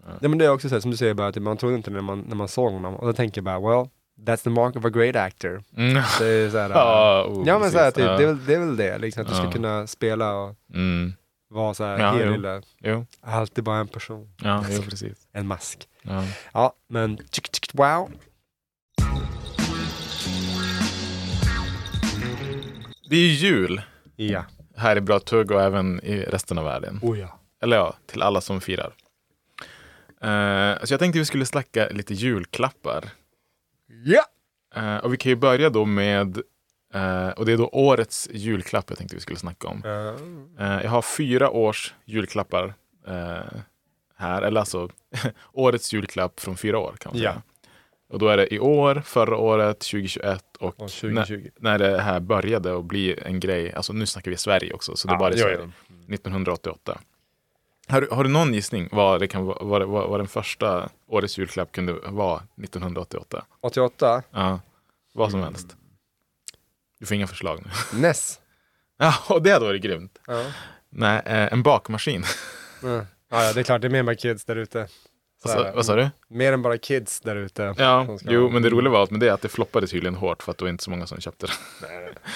Nej, men det är också så här, som du säger, bara, typ, man trodde inte när man, när man såg honom, och då tänker jag bara, well, that's the mark of a great actor.
Mm.
Det är så här,
Ja, oh,
ja, men
precis.
så här, typ,
Ja.
det, är väl, det är väl det, liksom, att du
Ja.
ska kunna spela och
Mm.
vara så här,
Ja,
hel
jo.
lille,
Jo,
alltid bara en person,
ja, jo precis.
en mask.
Ja.
Ja, men tsk, tsk, wow.
Det är ju jul
Ja.
här i Bra Tugg och även i resten av världen.
Oh ja.
Eller ja, till alla som firar. Eh, så jag tänkte vi skulle slacka lite julklappar.
Ja!
Eh, och vi kan ju börja då med Eh, och det är då årets julklapp jag tänkte vi skulle snacka om.
Ja.
Eh, jag har fyra års julklappar eh, här, eller alltså årets julklapp från fyra år kan man
Ja.
säga. Och då är det i år, förra året, 2021 och,
Och 2020.
När, när det här började och bli en grej. Alltså nu snackar vi Sverige också, så det är
Ja,
bara i
jo,
Sverige.
jo.
1988. Har du, har du någon gissning vad, det kan, vara- vad, det- vad, vad den första årets julklapp kunde vara 1988?
88.
Ja, vad som
Mm.
helst. Du får inga förslag nu.
Ness.
Ja, och det hade varit grymt.
Ja.
Nej, eh, en bakmaskin.
Ja. Ja, ja, det är klart, det är mer än bara kids där ute. Så
Vad
är
sa-
det.
Alltså, vad sa du?
Mer än bara kids där ute.
Ja,
som ska-
jo, men det roliga var att med det att det floppade tydligen hårt för att det var inte så många som köpte det.
Så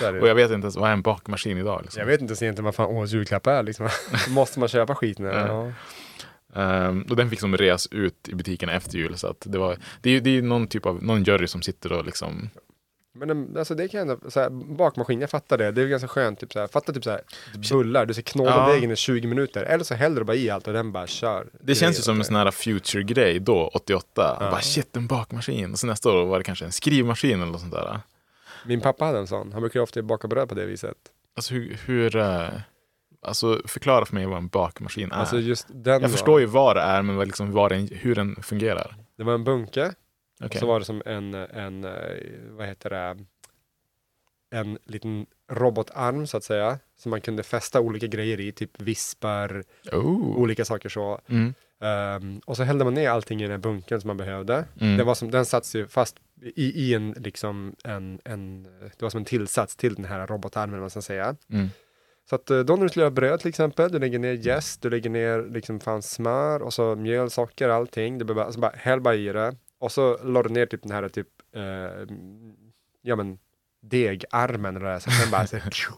är det ju.
Och jag vet inte ens vad är en bakmaskin idag. Liksom.
Jag vet inte ens egentligen vad fan årets julklapp är liksom. Måste man köpa skit nu? Ja.
Ehm, och den fick som reas ut i butikerna efter jul. Så att det, var, det, är, ju- det är ju någon typ av någon jury som sitter och liksom...
Men em, alltså det kan jag ändå, så här, bakmaskin, jag fattar det. Det är ganska skönt, typ så här, fatta typ så här, bullar, du ska knåda
Ja.
degen i 20 minuter. Eller så häller du bara i allt och den bara kör.
Det känns ju som en sån här future-grej då, 88. Bara shit, en bakmaskin. Och så nästa år var det kanske en skrivmaskin eller något sånt där.
Min pappa hade en sån, han brukar ju ofta baka bröd på det viset.
Alltså hur... hur eh, alltså förklara för mig vad en bakmaskin är.
Alltså just den
jag förstår ju vad det är, men vad liksom vad den, hur den fungerar.
Det var en bunke,
Okej.
så var det som en, en, eh, vad heter det, en liten robotarm så att säga. Som man kunde fästa olika grejer i, typ vispar,
Oh.
olika saker så.
Mm.
Ehm, och så hällde man ner allting i den här bunken som man behövde.
Mm.
Den, var som, den satt ju fast i, i en, liksom, en, en, det var som en tillsats till den här robotarmen, vad man ska säga.
Mm.
Så att eh, då när du skulle göra bröd till exempel, du lägger ner jäst, du lägger ner liksom fan smör och så mjöl, socker, allting. Du bara, alltså bara häll bara i det. Och så la du ner typ den här typ, eh, ja men degarmen eller det där. Så att den bara så,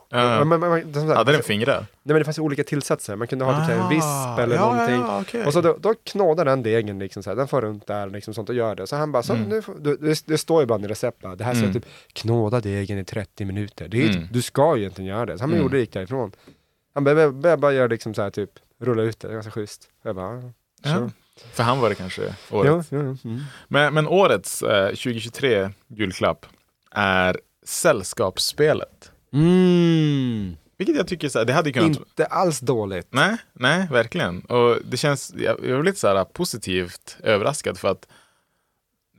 Ja.
men, men, men, det är som så här- alltså,
Hade den fingrar?
Nej men det fanns ju olika tillsatser, man kunde ha typ så här en visp eller
Ah. ja,
någonting.
Ja, ja, okej.
Och så då, då knådar den degen liksom så här, den får runt där liksom sånt och gör det. Så han bara, så, nu, får- du- det, det står ju ibland i recept bara, det här ska
Mm.
typ knåda degen i 30 minuter. Det är, ju
Mm.
typ- Du ska ju egentligen göra det. Så han
Mm.
gjorde det, gick därifrån. Han bara, jag började bara göra liksom så här typ, rulla ut det, det är ganska schysst. Jag bara, ja,
Ja.
sure.
För han var det kanske året.
ja, ja, ja. Mm.
Men, men årets eh, 2023 julklapp är Sällskapsspelet. Vilket jag tycker, så här, det hade ju kunnat...
Mm. Inte alls dåligt.
Nej, nej, verkligen. Och det känns, jag, jag blev lite så här positivt överraskad för att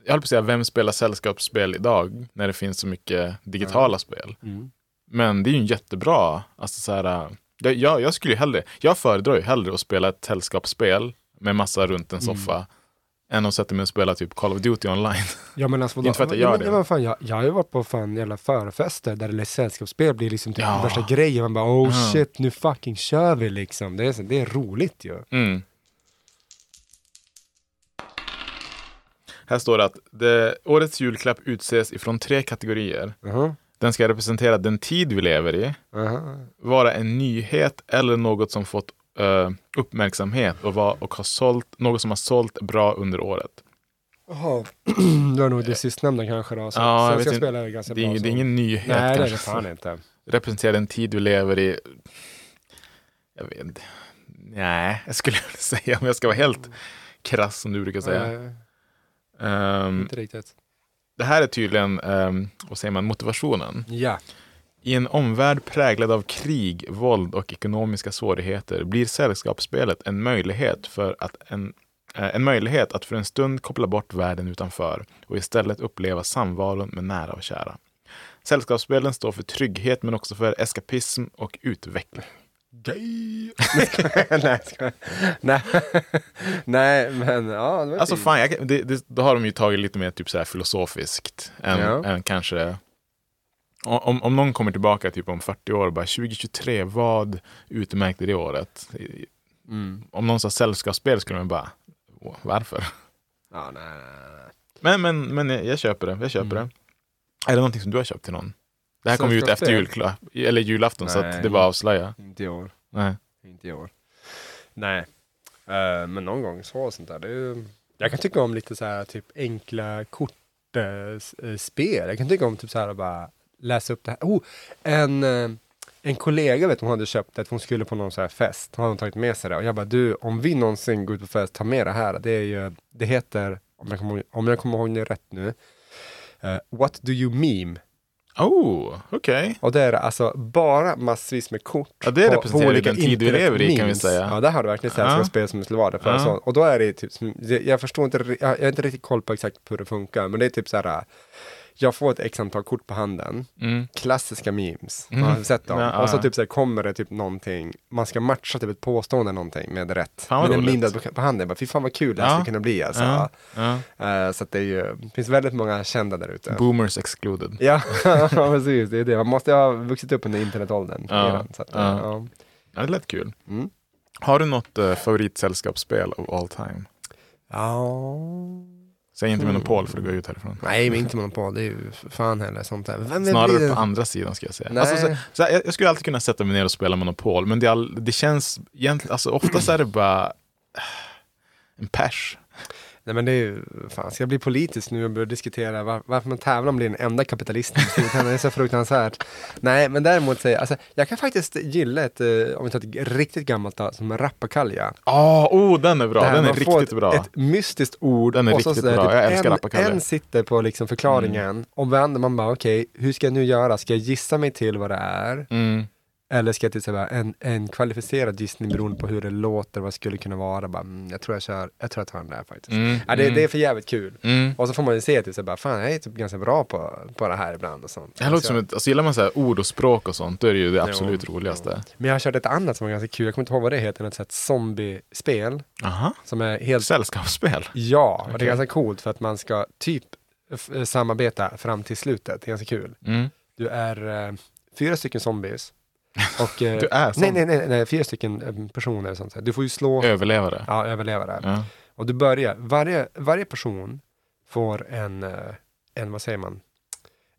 jag höll på att säga, vem spelar sällskapsspel idag när det finns så mycket digitala spel?
Mm.
Men det är ju en jättebra, alltså så här, jag, jag, jag skulle ju hellre, jag föredrar ju hellre att spela ett sällskapsspel med massa runt en soffa än att sätta mig och spela typ Call of Duty online.
Ja men alltså vadå?
Inte för att jag
Ja,
gör
men,
det.
men fan, jag, jag har ju varit på fan jävla förfester där det är sällskapsspel blir liksom typ
Ja.
den värsta grejen. Man bara oh shit, nu fucking kör vi liksom. Det är, så- det är roligt ju.
Mm. Här står det att det, årets julklapp utses ifrån tre kategorier.
Jaha,
Den ska representera den tid vi lever i,
jaha.
vara en nyhet eller något som fått eh, uppmärksamhet och, var, och har sålt, något som har sålt bra under året.
Jaha, det var nog det sistnämnda kanske då. Så
Ja, jag vet
sällskapsspel
inte.
är ganska
Det
bra.
är, ing- det är
så.
ingen nyhet
Nej, det är
kanske.
det fan inte.
Representera den tid vi lever i. Jag vet inte. Nej, jag skulle väl säga om jag ska vara helt krass som du brukar säga.
Nej,
Ehm,
inte riktigt.
Det här är tydligen, ehm, vad säger man, motivationen.
Ja.
I en omvärld präglad av krig, våld och ekonomiska svårigheter blir sällskapsspelet en möjlighet, för att en, eh, en möjlighet att för en stund koppla bort världen utanför och istället uppleva samvaron med nära och kära. Sällskapsspelen står för trygghet men också för eskapism och utveckling.
Nej, skoja. Nej. Nej, men ja. Det var
Alltså
fint.
fan, jag, det, det, då har de ju tagit lite mer typ så här filosofiskt än,
Ja.
än kanske... Om, om någon kommer tillbaka typ om 40 år och bara 2023, vad utmärkte det året?
Mm.
Om någon sa sällskapsspel skulle man bara, "Åh, varför?
Ja, nej, nej, nej, nej.
Men, men, men jag, jag köper det, jag
Mm.
köper det. Är det någonting som du har köpt till någon? Det här kommer ju ut efter
Sällskapsspel?
julklapp, eller julafton så
Nej.
att det var avslöja.
Inte i år.
Nej.
Inte i år. Nej. Eh, men någon gång så och sånt där. Det är ju... Jag kan tycka om lite så här typ enkla kortspel. eh, spel. jag kan tycka om typ så här bara läsa upp det här. Oh, en, eh, en kollega vet hon hade köpt det, hon skulle på någon så här fest. Hon hade tagit med sig det och jag bara du, om vi någonsin går ut på fest, ta med det här. Det är ju, det heter, om jag kommer, ihåg- om jag kommer ihåg det rätt nu, eh, What do you meme?
Oh, okej.
Och det är alltså bara massvis med kort.
Ja, det representerar ju den tid vi lever i, kan vi
internetmemes.
säga.
Ja, där har du verkligen svenska
Ja.
spel som skulle vara det. För
Ja.
en sån. Och då är det typ, som- det- jag förstår inte, ri- jag jag har inte riktigt koll på exakt hur det funkar, men det är typ så här, jag får ett x antal kort på handen,
Mm.
klassiska memes, man har sett dem.
Ja,
och så
ja.
typ så här, kommer det typ någonting, man ska matcha typ ett påstående någonting med rätt.
Fan, vad
med en
roligt.
lindad på, på handen, Jag bara, fy fan vad kul det här
Ja.
skulle kunna bli alltså.
Ja, ja.
Eh, så att det är ju, det finns väldigt många kända där ute.
Boomers excluded.
Ja, ja, precis. Det är det. Man måste ju ha vuxit upp under internetåldern.
Ja,
redan, så att, eh,
ja.
ja.
Ja, det lät kul.
Mm.
Har du något eh, favoritsällskapsspel of all time? Säg inte Monopol för att gå ut härifrån.
Nej, men inte monopol. Det är ju för fan heller sånt där. Vem vill bli
Snarare
den-
på andra sidan ska jag säga.
Nej.
Alltså, så, så här, jag, jag skulle alltid kunna sätta mig ner och spela Monopol, men det, är all, det känns egentligen, alltså oftast är det bara eh, en pers.
Nej, men det är ju, fan, ska jag bli politisk nu och börja diskutera var, varför man tävlar om att bli den enda kapitalisten? i Storbritannien? det är så fruktansvärt. Nej, men däremot säger jag, alltså, jag kan faktiskt gilla ett, eh, om vi tar ett g- riktigt gammalt tal, som rappakalja.
Ja, oh, den är bra.
Det här
Den är
man får
riktigt
ett,
bra.
Ett mystiskt ord.
Den är
och så
riktigt
sådär,
bra. Jag älskar Mm.
en,
rappakalja.
En sitter på liksom förklaringen och vänder man bara okej, hur ska jag nu göra? Ska jag gissa mig till vad det är?
Mm.
Eller ska jag typ till såhär, en, en kvalificerad gissning beroende på hur det låter, vad det skulle kunna vara. Bara, mm, jag tror jag kör, jag tror jag tar den där faktiskt.
Mm,
Ja, det,
mm.
det är för jävligt kul.
Mm.
Och så får man ju se till såhär, bara, fan jag är typ ganska bra på, på det här ibland och sånt.
Det här låter som ett, alltså gillar man så här ord och språk och sånt, då är det ju det absolut roligaste.
Men jag har kört ett annat som var ganska kul, jag kommer inte ihåg vad det heter, något sånt zombiespel.
Aha.
Som är helt
Sällskapsspel.
Ja, och det är ganska coolt för att man ska typ f- eh, samarbeta fram till slutet. Det är ganska kul.
Mm.
Du är eh, fyra stycken zombies. Och, eh,
Du är
nej,
zombie.
nej, nej, nej, fyra stycken eh, personer. och Sånt här. Du får ju slå,
Överlevare.
ja, överleva det.
Ja.
Och du börjar, varje, varje person får en, eh, en, vad säger man,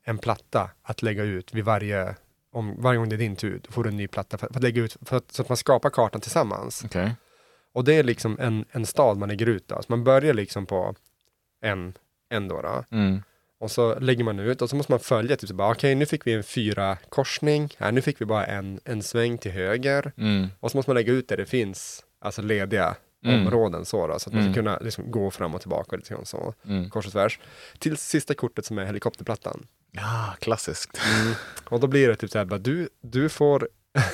en platta att lägga ut vid varje, om, varje gång det är din tur, då får du en ny platta för, för att lägga ut, för att, så att man skapar kartan tillsammans.
Okej.
Och det är liksom en, en stad man lägger ut. Då. Så man börjar liksom på en, en då, då.
Mm.
Och så lägger man ut och så måste man följa. Typ så bara, okej, nu fick vi en fyra korsning. Här, nu fick vi bara en, en sväng till höger.
Mm.
Och så måste man lägga ut där det finns alltså lediga
Mm.
områden så, då, så att man
Mm.
ska kunna liksom, gå fram och tillbaka lite grann så.
Mm.
Kors och tvärs. Till sista kortet som är helikopterplattan.
Ja, klassiskt.
Och då blir det typ så här, bara, du, du får...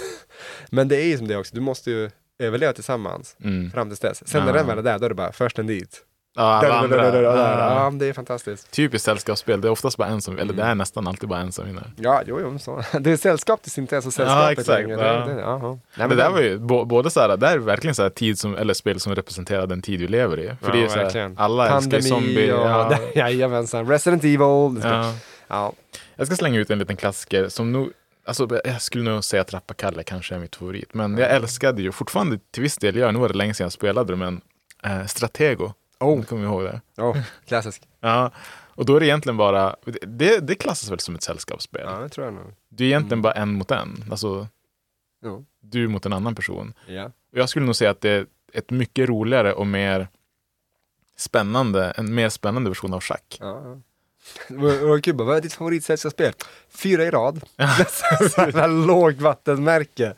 Men det är ju som det är också, du måste ju överleva tillsammans
Mm.
fram tills dess. Sen när
Ja.
den väl är där, då är det bara först en dit.
Ja, alla
Där, där,
andra.
där, där, där.
Ja.
Ja, det är fantastiskt.
Typiskt sällskapsspel, det är oftast bara en som, eller det är nästan alltid bara en som vinner.
Ja, jo, jo, så. Det är sällskap tills inte ens är sällskapet
exakt,
längre.
ja.
Det, det, ja, ja. Nej,
Det
men
där var ju bå- både så här, det här är verkligen så här tid som, eller spel som representerar den tid vi lever i. För det är ju så här,
verkligen.
alla älskar ju zombie.
och,
Ja.
Jajamensan, Resident Evil. Det ska, ja.
Ja. Jag ska slänga ut en liten klassiker som nog, alltså jag skulle nog säga att Rappakalle kanske är mitt favorit. Men
Mm.
jag älskade ju, fortfarande till viss del gör, jag, nu var det länge sedan jag spelade det, men eh, Stratego.
Oh.
Om du Kommer ihåg det?
Oh, klassisk.
Ja. Och då är det egentligen bara, det, det klassas väl som ett sällskapsspel?
Ja, det tror jag nog.
Du är egentligen bara en mot en. Alltså,
Jo.
du mot en annan person.
Ja.
Och jag skulle nog säga att det är ett mycket roligare och mer spännande, en mer spännande version av schack.
Ja, ja. Vad- vad kul, bara, vad är ditt favoritsällskapsspel? Fyra i rad. Sådana lågt vattenmärke.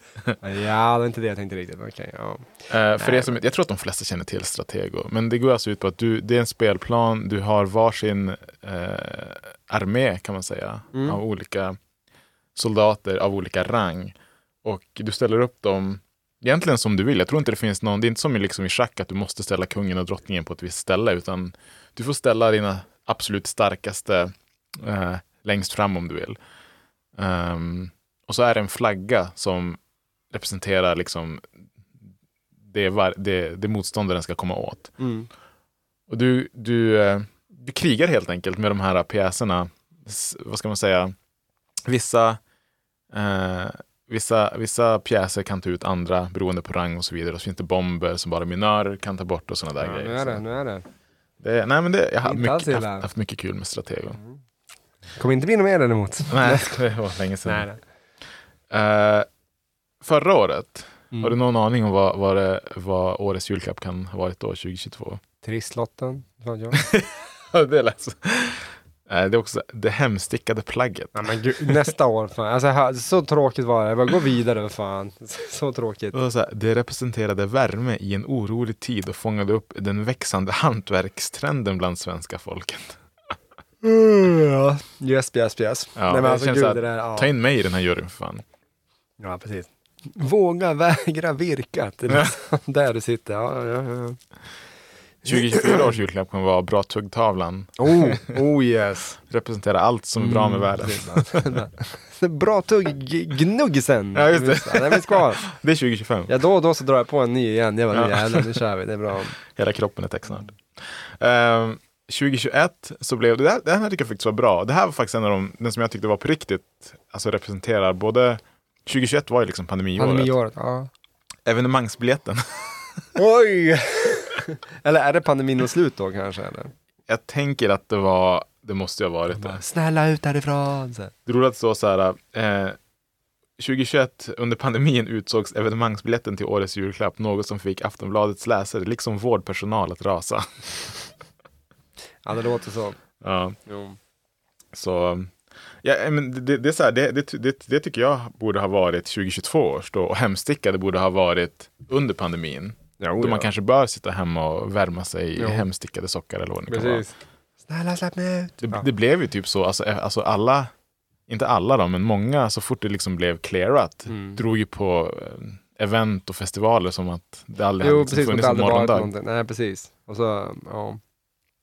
Ja, det är inte det jag tänkte riktigt. Okej, ja.
Eh, för det som, jag tror att de flesta känner till Stratego, men det går alltså ut på att du, det är en spelplan, du har varsin eh, armé kan man säga, av olika soldater av olika rang. Och du ställer upp dem egentligen som du vill. Jag tror inte det finns någon, det är inte som i, liksom i schack att du måste ställa kungen och drottningen på ett visst ställe, utan du får ställa dina absolut starkaste eh, längst fram om du vill. Ehm, och så är det en flagga som representerar liksom det, var, det, det motståndaren ska komma åt.
Mm.
Och du, du, eh, du krigar helt enkelt med de här pjäserna. S- Vad ska man säga? Vissa, eh, vissa, vissa pjäser kan ta ut andra beroende på rang och så vidare. Och så finns det bomber som bara minörer kan ta bort och sådana där
Ja, nu
grejer.
är det,
Så
nu är det.
det, nej, men det, jag har
Inte
mycket,
alls illa.
haft, haft mycket kul med Stratego.
Mm. Kommer inte bli något mer däremot. Mm.
Nej, det var länge sedan.
Nej, nej.
Eh, förra året,
Mm.
har du någon aning om vad, vad, det, vad årets julklapp kan ha varit då, 2022?
Trisslotten, vad jag.
Ja, det lät så. Nej, det är också det hemstickade plagget.
Nej, men gud, nästa år, fan. Alltså, här- så tråkigt var det. Jag bara, gå vidare, vad fan. Så tråkigt.
Det, var så här, det representerade värme i en orolig tid och fångade upp den växande hantverkstrenden bland svenska folket.
Ja, yes, yes, yes.
Ja,
Nej, men
det
alltså,
känns
gud,
så här,
det där, ja.
Ta in mig i den här juryn för fan.
Ja, precis. Våga vägra virka. Det är liksom där du sitter. Ja, ja, ja.
2024 års julklapp kommer vara Bra tuggtavlan.
Oh, oh yes.
Representera allt som är bra
Mm.
med världen.
Bra tugg, gnuggisen.
Ja, just det.
Den finns kvar.
Det är 2025.
Ja, då och då så drar jag på en ny igen. Jag bara, nu
Ja.
jävlar, nu kör vi. Det är bra.
Hela kroppen är täckt snart. Ehm, 2021 så blev det, här- den här tycker jag faktiskt var bra. Det här var faktiskt en av de, den som jag tyckte var på riktigt, alltså representerar både, 2021 var ju liksom pandemiåret.
Pandemiåret, ja.
Evenemangsbiljetten.
Oj! eller är det pandemin och slut då kanske? Eller?
jag tänker att det var, det måste ju ha varit det.
Snälla ut därifrån! Så. här.
Det roliga står så här, eh, 2021 under pandemin utsågs evenemangsbiljetten till årets julklapp, något som fick Aftonbladets läsare, liksom vårdpersonal, att rasa.
Ja, det låter så.
Ja.
Jo.
Så ja, eh, men det, det, det, är så här, det, det, det, det tycker jag borde ha varit 2022 års då. Och hemsticka det borde ha varit under pandemin. då man kanske bör sitta hemma och värma sig i
Jo.
hemstickade sockar eller vad det kan vara.
Precis. Snälla släpp mig ut!
Det,
Ja.
det blev ju typ så, alltså, eh, alltså alla, inte alla då, men många, så fort det liksom blev clearat,
Mm.
drog ju på eh, event och festivaler som att det aldrig hade
Jo,
liksom
precis. Som det
funnits en
aldrig varit
morgondag.
någonting. Nej, precis. Och så, ja.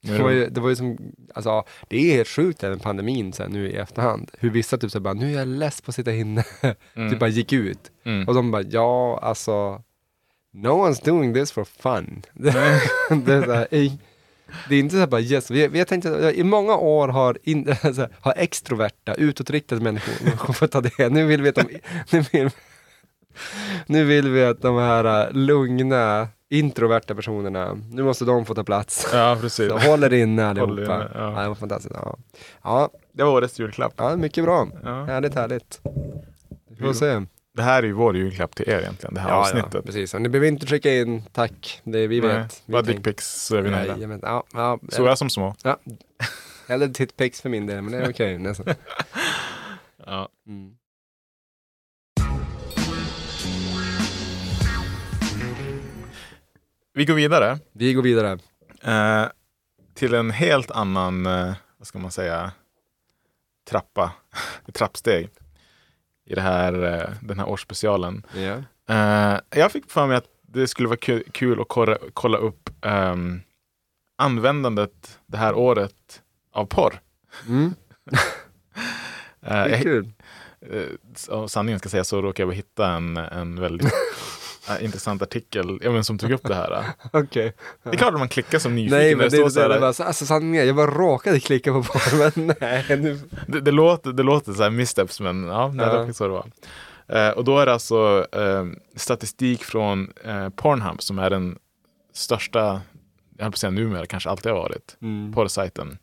Nu
Det var
är det-
ju, det var ju som, alltså, ja, det är helt sjukt även pandemin sen nu i efterhand. Hur vissa typ så här bara, nu är jag less på att sitta inne. typ bara gick ut.
Mm.
Och de bara, ja alltså, no one's doing this for fun. det är så här, "Ey." det är inte så här bara yes, vi, vi har tänkt att i många år har, in, alltså, har extroverta, utåtriktade människor människor fått ta det. Nu vill vi att de, nu vill, nu vill vi att de här äh, lugna, introverta personerna, nu måste de få ta plats.
Ja, precis.
Så håller inne
typ. Håller
allihopa.
inne, ja.
ja. det var fantastiskt. Ja. Ja,
Det var årets julklapp.
ja, mycket bra.
Ja.
Härligt, härligt. Vi får se.
Det här är ju vår julklapp till er egentligen, det här
Ja,
avsnittet.
precis. Och Ni behöver inte skicka in tack, det är, vi
Nej,
vet. Vi
Bara
tänker-
dickpics så är vi nöjda.
Jajamän. Ja, ja,
Stora som små.
ja. Eller tittpics för min del, men det är okej nästan.
Ja.
Mm.
Vi går vidare
Vi går vidare.
eh, till en helt annan, eh, vad ska man säga, trappa, trappsteg i det här, eh, den här årsspecialen.
Ja.
Eh, jag fick för mig att det skulle vara ku- kul att korra, kolla upp ehm, användandet det här året av porr.
Mm.
Eh,
Det är
jag,
kul.
eh, om sanningen ska säga så råkade jag hitta en, en väldigt eh, intressant artikel ja, men som tog upp det här. eh.
Okej.
Det är klart att man klickar som nyfiken.
Nej, men det är
står
inte
så
det.
här,
det var så- Alltså sanningen, jag bara råkade klicka på porr, men nej. Nu...
Det, det, låter, det låter så här missteps, men ja, nej, det
Ja.
var så det var. Eh, och då är det alltså eh, statistik från eh, Pornhub som är den största, jag höll på att säga numera, kanske alltid har varit,
Mm.
porrsajten.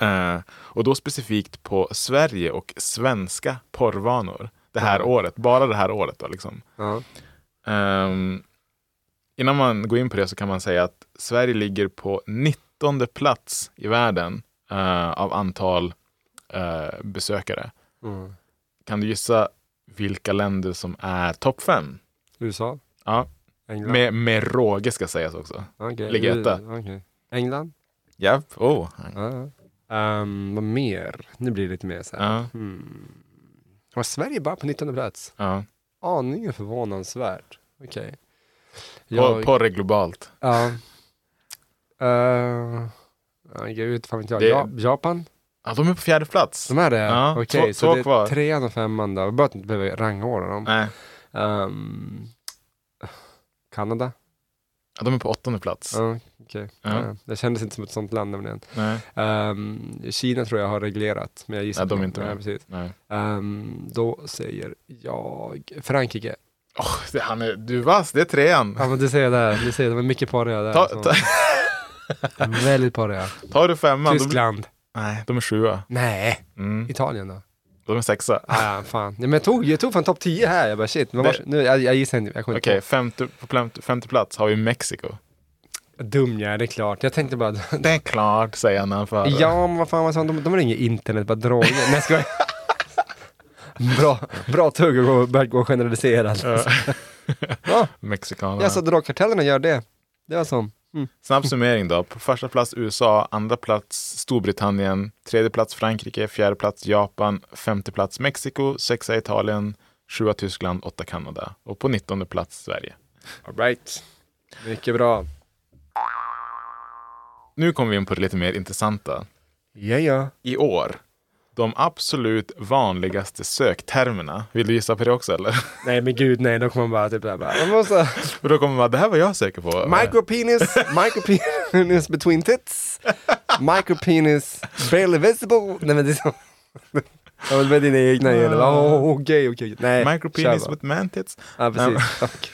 Eh, och då specifikt på Sverige och svenska porrvanor det här året, bara det här året då liksom.
Ja.
Ehm, innan man går in på det så kan man säga att Sverige ligger på 19 plats i världen eh, av antal eh, besökare.
Mm.
Kan du gissa vilka länder som är topp fem?
USA?
Ja,
England?
med, med råge ska sägas också.
Okej. Mm,
Ligger etta.
Okej. England?
Japp. Oh.
Ja. Ehm, vad mer? Nu blir det lite mer så här. Hmm.
Ja,
Var Sverige bara på 19 plats?
ja.
Aningen förvånansvärt. Okej.
Por- Porr är globalt.
Ja. Uh, gud, fan vet jag.
Det-
Ja, Japan?
Ja, de är på fjärde plats.
De är det?
Ja,
Okej,
två-
så
två
det är
kvar.
trean och femman då. Jag behöver inte behöva rangordna dem.
Nej,
Ehm, Kanada?
ja, de är på åttonde plats.
Ja, okej.
Ja.
Ja, det kändes inte som ett sånt land nämligen.
Nej,
Ehm, Kina tror jag har reglerat, men jag gissar
Nej, de är
på-
inte med.
Nej, precis.
nej.
Ehm, då säger jag Frankrike.
Åh, det, han är, du är vass, det är trean.
Ja men det säger jag där, det säger jag, det var mycket porriga där.
Ta,
så.
ta,
Väldigt porriga.
tar du femman, de,
Tyskland.
nej, de är sjua.
Nej.
Mm.
Italien då?
De är sexa.
Ah, fan. Nej, men jag tog, jag tog fan topp 10 här, jag bara shit. Men vars, nu, jag, jag gissar inte, jag kommer
Okej,
inte
femte, på plem- femte plats har vi Mexiko.
på. Dum jag är, det är klart. Jag tänkte bara,
Det är klart, säger han när han får höra.
ja men vad fan vad sa han? de, de ringer internet, bara droger. Nej jag skojar. Bra, bra tugg att gå- börja gå generaliserad. Ja. Alltså,
Mexikanerna. Alltså-
Jag sa drogkartellerna gör det. Det var som,
Snabb summering då. På första plats USA, andra plats Storbritannien, tredje plats Frankrike, fjärde plats Japan, femte plats Mexiko, sexa Italien, sjua Tyskland, åtta Kanada och på nittonde plats Sverige.
All right. Mycket bra.
Nu kommer vi in på det lite mer intressanta.
Ja, ja.
I år, de absolut vanligaste söktermerna. Vill du gissa på det också eller?
Nej, men gud nej. Då kommer man bara typ där bara. Man måste...
Och då kommer man, det här var jag säker på.
Micropenis, micropenis between tits, micropenis barely visible. Nej men det är så. Ja, men med dina egna igen. eller? Åh, Okej, okej. Nej,
Micropenis
kör bara.
with mantits.
Ja, precis. Fuck.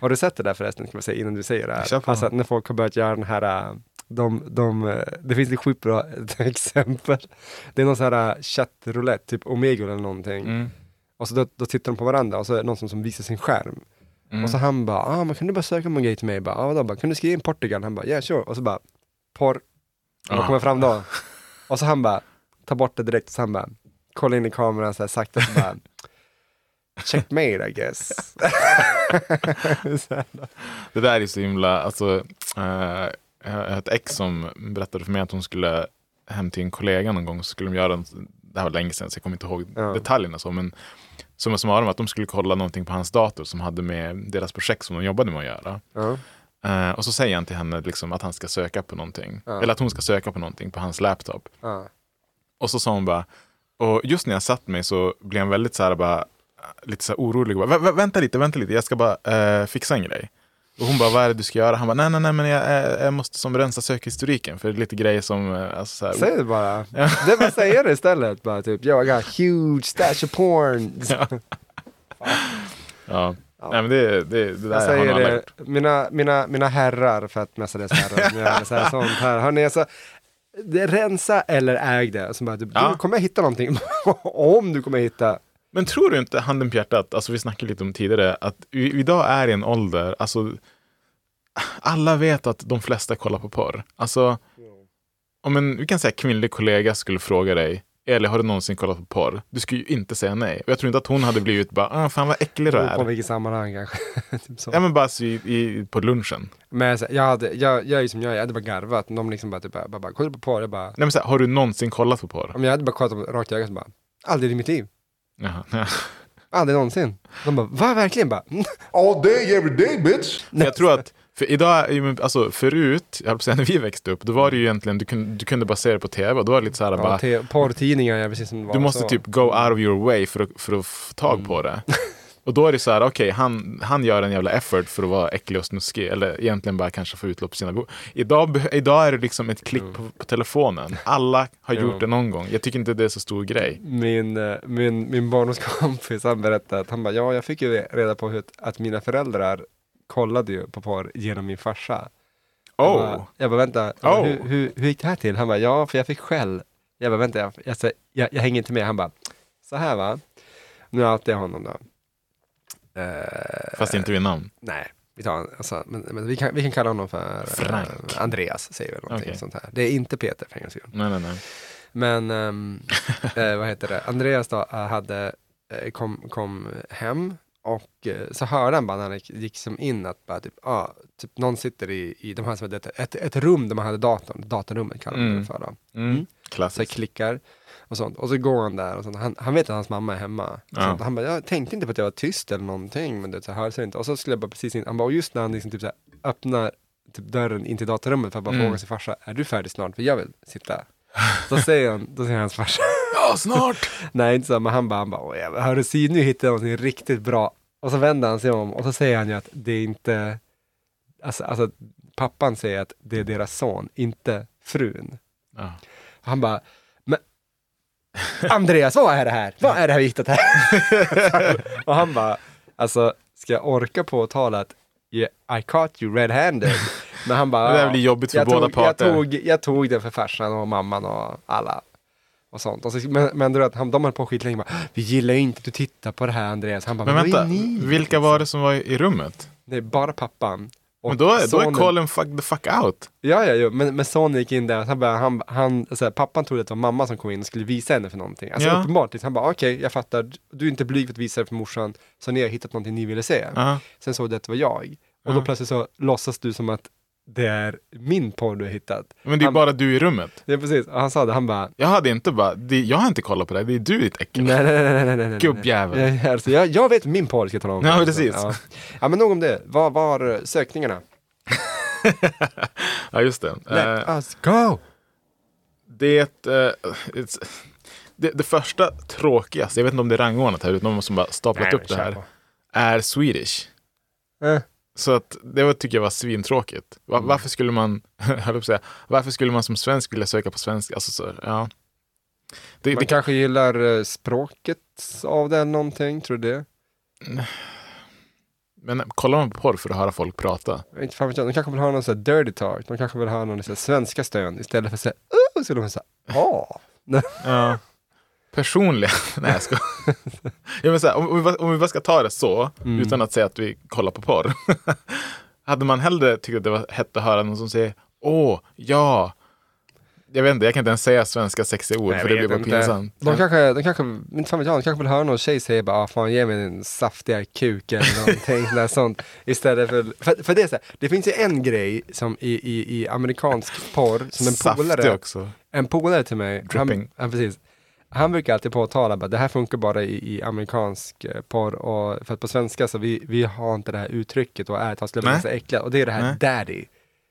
Har du sett det där förresten, ska man säga, innan du säger det
Kör
här?
på.
Alltså, när folk har börjat göra den här, äh, de, de, äh, det finns ett sjukt bra exempel. Det är någon sån här äh, chattroulette, typ Omegle eller någonting.
Mm.
Och så då, då tittar de på varandra och så är det någon som, som visar sin skärm.
Mm.
Och så han bara, ah, men kan du bara söka på en grej till mig? Jag Bara, ah, vadå? Jag Bara, kan du skriva in Portugal? Han bara, yeah sure. Och så bara, porr. Och
Ah.
vad kommer fram då? Och så han bara, ta bort det direkt. Så han bara, kolla in i kameran så här sakta. Så bara, checkmate I guess. så här då.
Det där är så himla, alltså, eh, jag har ett ex som berättade för mig att hon skulle hem till en kollega någon gång, så skulle de göra en, det här var länge sedan så jag kommer inte ihåg
Ja.
detaljerna så, men summa summarum att de skulle kolla någonting på hans dator som hade med deras projekt som de jobbade med att göra.
ja.
Eh, och så säger han till henne liksom att han ska söka på någonting,
Ja.
eller att hon ska söka på någonting på hans laptop.
ja.
Och så sa hon bara, och just när jag satt mig så blev jag väldigt så här bara, eh, lite så här orolig. Bara, "Vä- vä- vänta lite, vänta lite, jag ska bara eh, fixa en grej. Och hon bara, vad är det du ska göra? Han bara, nej, nej, nej, men jag, eh, jag måste som rensa sökhistoriken för det är lite grejer som, eh, alltså så här,
Säg det bara. Det är bara att säga det istället. Bara typ, yo I got a huge stash of porn.
ja. Nej, men det, det, det
Jag
där har
säger
nog alla
det,
gjort.
mina, mina, mina herrar, för att mestadels herrar som gör så här, sånt här. Hörni, alltså, det, rensa eller äg det. Som bara, du,
Ja.
du kommer hitta någonting, om du kommer hitta.
Men tror du inte, handen på hjärtat, alltså vi snackade lite om tidigare, att vi, idag är i en ålder, alltså alla vet att de flesta kollar på porr. Alltså, om en, vi kan säga kvinnlig kollega skulle fråga dig, eller har du någonsin kollat på porr? Du skulle ju inte säga nej. Och jag tror inte att hon hade blivit bara, ah, fan vad äcklig du
Beror på
är.
vilket sammanhang kanske. typ så.
Ja men bara alltså, i, i, på lunchen.
Men så, jag, hade, jag, jag är ju som jag är, jag hade bara garvat. De liksom bara, typ, bara, bara, bara kolla på porr. Jag bara,
Nej men så här, har du någonsin kollat på porr?
om jag hade bara kollat dem rakt i ögat så bara, aldrig i mitt liv.
Jaha, ja.
Aldrig någonsin. De bara, va verkligen? Bara,
All day, every day bitch.
Jag tror att, för idag, är ju- alltså förut, jag höll på att säga när vi växte upp, då var det ju egentligen, du kunde, du kunde bara se det på tv, och då var det lite så här bara,
ja, te- porrtidningar är precis som det var.
Du måste
så. Mm.
typ go out of your way för att, för att få tag på det. Och då är det så här, okej, han, han gör en jävla effort för att vara äcklig och snuskig. Eller egentligen bara kanske få utlopp för sina behov. Idag, beh- idag är det liksom ett klick på, på telefonen. Alla har gjort det någon gång. Jag tycker inte det är så stor grej.
min, eh, min, min barndomskompis han berättade att han bara, ja jag fick ju reda på hur, att mina föräldrar kollade ju på porr genom min farsa. Jag
Oh,
bara- Jag bara, vänta, jag bara,
Oh.
hur, hur, hur gick det här till? Han bara, ja för jag fick skäll. Jag bara, vänta, jag, jag, jag, jag, jag hänger inte med. Han bara, så här va, nu outar jag honom då. Eh,
fast inte vid namn.
Nej, vi tar han. Alltså, men, men vi, kan, vi kan kalla honom för eh,
Frank.
Andreas, säger vi. Någonting
Okej.
sånt här. Det är inte Peter för en gångs skull.
Nej, nej, nej.
Men ehm, eh, vad heter det, Andreas då, eh, hade, eh, kom, kom hem och eh, så hörde han bara när han gick- gick som in att bara typ, ah, typ någon sitter i, i de här som hade ett, ett, ett rum där man hade datorn, datorrummet kallar man det
Mm.
för då.
Mm.
Så jag
Klassiskt.
klickar och sånt. Och så går han där och sånt. Han, han vet att hans mamma är hemma.
Ja.
Sånt. Och Han bara, jag tänkte inte på att jag var tyst eller någonting, men det så hörs det inte. Och så skulle jag bara precis in, han bara, och just när han liksom typ så här, öppnar typ dörren in till datarummet för att bara
Mm.
fråga sin farsa, är du färdig snart? För jag vill sitta. Då säger, han, då säger hans farsa,
Ja, snart!
nej inte så, men han bara, han bara, "Åh, jävlar, hörru Siv, nu hittade jag någonting riktigt bra. Och så vänder han sig om och så säger han ju att det är inte, alltså, alltså pappan säger att det är deras son, inte frun.
Ja.
Och Han bara, men Andreas, vad är det här? Vad är det här vi hittat här? och han bara, alltså, ska jag orka påtala att yeah, I caught you red-handed? Men han bara,
Det där
"Ja,
blir jobbigt för
jag
båda
tog,
parter."
Jag tog, jag tog det för farsan och mamman och alla. Och sånt. Och så, men men du vet, han, de höll på skitlänge bara, "Ah, vi gillar ju inte att du tittar på det här Andreas. Han bara,
Men
men, vad
vänta,
är ni?
vilka var det som var i rummet?
Det är bara pappan. och
Men då är, då är
sonen.
Colin fuck the fuck out.
Ja, ja, ja. Men, men sonen gick in där, han bara, han, han, så här, pappan trodde att det var mamma som kom in och skulle visa henne för någonting. Alltså
Ja.
uppenbart, liksom, han bara okej, jag fattar, du är inte blyg för att visa det för morsan, så ni har hittat någonting ni ville se.
Ja.
Sen såg du att det var jag. Och
Ja.
då plötsligt så låtsas du som att det är min porr du har hittat.
Men det är
han,
bara du i rummet.
Ja, precis. Och han sa det, han bara,
Jag hade inte bara, det, jag har inte kollat på det, här, det är du ditt äckel.
nej, nej, nej, nej, nej, nej, nej.
Gubbjävel.
Ja, Alltså, jag, jag vet min porr, ska jag tala om.
Ja, precis.
Ja. ja, men nog om det. Vad var sökningarna?
Ja, just det. Eh,
Let us go!
Det, eh, it's, det, det första tråkigaste, jag vet inte om det är rangordnat här, utan någon som bara staplat
Nej, men
upp det
kör
här,
på.
är Swedish.
Eh.
Så att det var, tycker jag var svintråkigt. Va- Varför skulle man, höll jag på att säga, varför skulle man som svensk vilja söka på svenska? Alltså, så, ja. det,
Man
det kan,
kanske gillar eh, språket av den någonting, tror du det?
men kollar man på porr för att höra folk prata?
Jag vet Inte fan vet jag. De kanske vill ha någon sån här dirty talk, de kanske vill ha någon sån här svenska stön istället för såhär, oh, så "Ah!" vill de säga ja.
Ja. Personligen, nej jag skojar. jag menar så här, om, om, vi bara, om vi bara ska ta det så,
Mm.
utan att säga att vi kollar på porr. hade man hellre tyckt att det var hett att höra någon som säger åh, ja. Jag vet inte, jag kan inte ens säga svenska sexiga ord
Jag
för det
vet
blir bara
inte.
pinsamt.
De kanske, de kanske, inte fan vet jag, de kanske vill höra någon tjej säga bara, ah, fan ge mig en saftiga kuk eller någonting sådär, sånt. Istället för, för, för det är så här, det finns ju en grej som i, i, i amerikansk porr, som en
Saftig
polare,
också.
en polare till mig, han,
Dripping.
han, precis, han brukar alltid påtala bara, det här funkar bara i, i amerikansk eh, porr, och, för att på svenska så vi, vi har inte det här uttrycket och är att han skulle bli
Nej.
så äcklad, och det är det här
Nej.
daddy.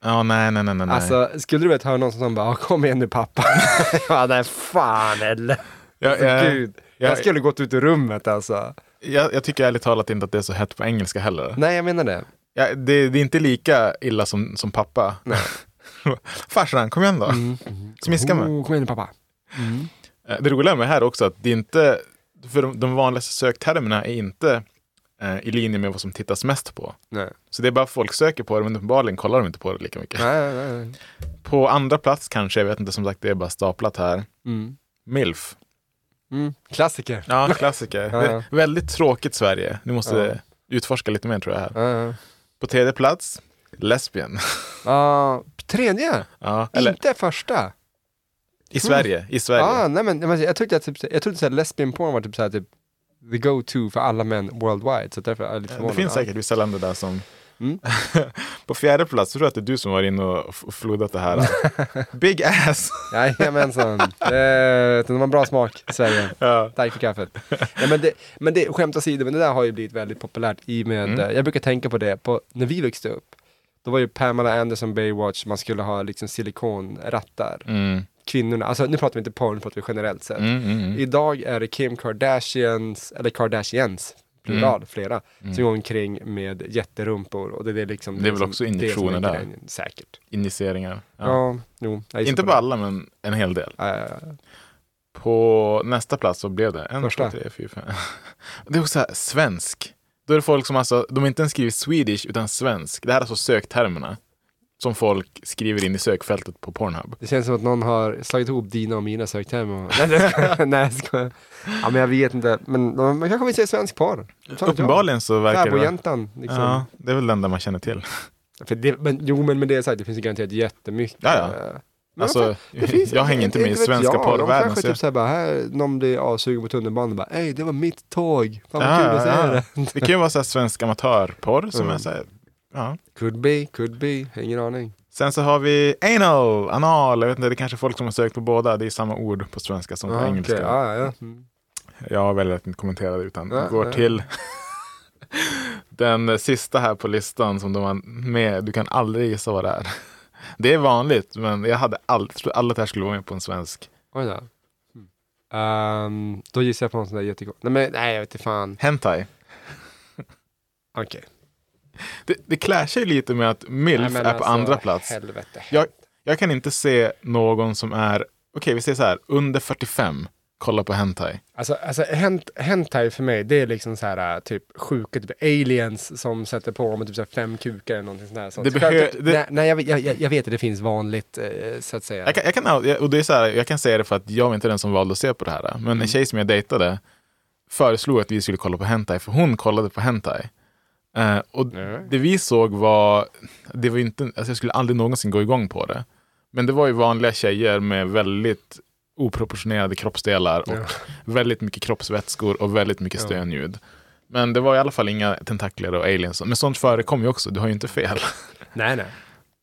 Ja, nej, nej, nej, nej. nej.
Alltså, skulle du vet höra någon som bara, "Ah, kom igen nu pappa. ja, nej fan eller.
jag,
Alltså,
jag,
Gud,
jag-
jag skulle gått ut ur rummet alltså.
jag, jag tycker ärligt talat inte att det är så hett på engelska heller.
Nej, jag menar det.
Ja, det, det är inte lika illa som, som pappa. Farsan, kom igen då.
Mm.
Smiska mig.
Oh, kom igen nu pappa.
Eh, Det roliga med det här också att det är inte, för de, de vanligaste söktermerna är inte eh, i linje med vad som tittas mest på.
Nej.
Så det är bara folk söker på det, men uppenbarligen kollar de inte på det lika mycket.
Nej, nej, nej.
På andra plats kanske, jag vet inte, som sagt det är bara staplat här.
Mm.
Milf.
Mm. Klassiker.
Ja, klassiker.
Ja, ja.
Det är väldigt tråkigt Sverige. Ni måste utforska lite mer tror jag här.
Ja, ja.
På tredje plats, lesbian.
Ah, tredje,
ja, eller
inte första.
i Sverige, i Sverige.
Ah, nej, men, nej, men jag tyckte att typ, jag trodde att lesbian porn var typ, så här, typ the go-to för alla män worldwide, så därför är jag lite
Det
förvånad.
finns
Ja.
säkert vissa länder där som...
Mm.
på fjärde plats tror jag att det är du som var inne och f- flodat det här. Big ass!
Jajamensan. Eh, De har bra smak, Sverige.
Ja.
Tack för kaffet. Nej, men det, men det, skämt åsido, men det där har ju blivit väldigt populärt i och med,
Mm.
eh, jag brukar tänka på det, på, när vi växte upp, då var ju Pamela Anderson Baywatch, man skulle ha liksom silikonrattar. Kvinnorna, alltså nu pratar vi inte porr, nu pratar vi generellt sett.
Mm.
Idag är det Kim Kardashians, eller Kardashians, plural,
Mm.
flera, som går omkring med jätterumpor och det är liksom
Det är väl
liksom
också
det som är
injektioner där?
grejen, Säkert.
Injiceringar. Ja.
Ja, jo. jag gissar
Inte
på
på
det.
alla, men en hel del.
Ja, ja, ja.
På nästa plats så blev det en,
Första.
två, tre, fyra, fem. Det är också så här, svensk. Då är det folk som alltså, de har inte ens skrivit Swedish, utan svensk. Det här är alltså söktermerna som folk skriver in i sökfältet på Pornhub.
Det känns som att någon har slagit ihop dina och mina söktermer. Nej, jag skojar. Nej, jag skojar. Ja, men jag vet inte. Men de- man kanske vill se svensk porr. Fan vet jag.
Uppenbarligen så verkar det... vara-
Fäbodjäntan, liksom.
Ja, det är väl den där man känner till.
För det, men, jo, men med det sagt, det finns ju garanterat jättemycket.
Ja, ja.
Men
Alltså,
vad fan,
jag hänger inte med i
vet
svenska
jag.
porrvärlden,
De kanske
så
typ
jag-
såhär bara, här, någon blir avsugen på tunnelbanan och bara, ey det var mitt tåg. Fan vad
Ja,
kul att
ja,
säga
ja.
det.
Det kan ju vara så här svensk amatörporr som
Mm.
är så här, ja.
Could be, could be, ingen aning.
Sen så har vi anal, anal, jag vet inte, det är kanske folk som har sökt på båda. Det är samma ord på svenska som på
Ja,
engelska.
okej. Ja, ja, ja. Mm.
Jag väljer att inte kommentera det utan
Ja,
går
ja.
till den sista här på listan som de var med. Du kan aldrig gissa vad det är. Det är vanligt, men jag hade all, tror alla det här skulle vara med på en svensk.
Oj då. Mm. Ehm, då gissar jag på någon sån där jättekort. Nej, men nej, jag vet inte fan.
Hentai.
Okej.
Det, det clashar ju lite med att milf
Nej, men
är på
alltså,
andra plats.
Helvete.
Jag, jag kan inte se någon som är, okej vi säger så här, under 45, kolla på hentai.
Alltså, alltså hent, hentai för mig, det är liksom så här äh, typ sjuka typ aliens som sätter på med typ så här fem kukar eller någonting sånt där. Så
Det
så
behö-
självklart-
det-
Nej, nej jag, vet- jag, jag, jag vet att det finns vanligt, eh, så att säga.
Jag kan, jag kan, jag- och det är så här, jag kan säga det för att jag var inte den som valde att se på det här. Men
Mm.
en tjej som jag dejtade föreslog att vi skulle kolla på hentai, för hon kollade på hentai. Eh, och
Nej.
det vi såg var, det var ju inte, alltså jag skulle aldrig någonsin gå igång på det. Men det var ju vanliga tjejer med väldigt oproportionerade kroppsdelar och väldigt mycket kroppsvätskor och väldigt mycket stönljud. Men det var i alla fall inga tentakler och aliens. Men sånt förekom ju också, du har ju inte fel.
Nej, nej.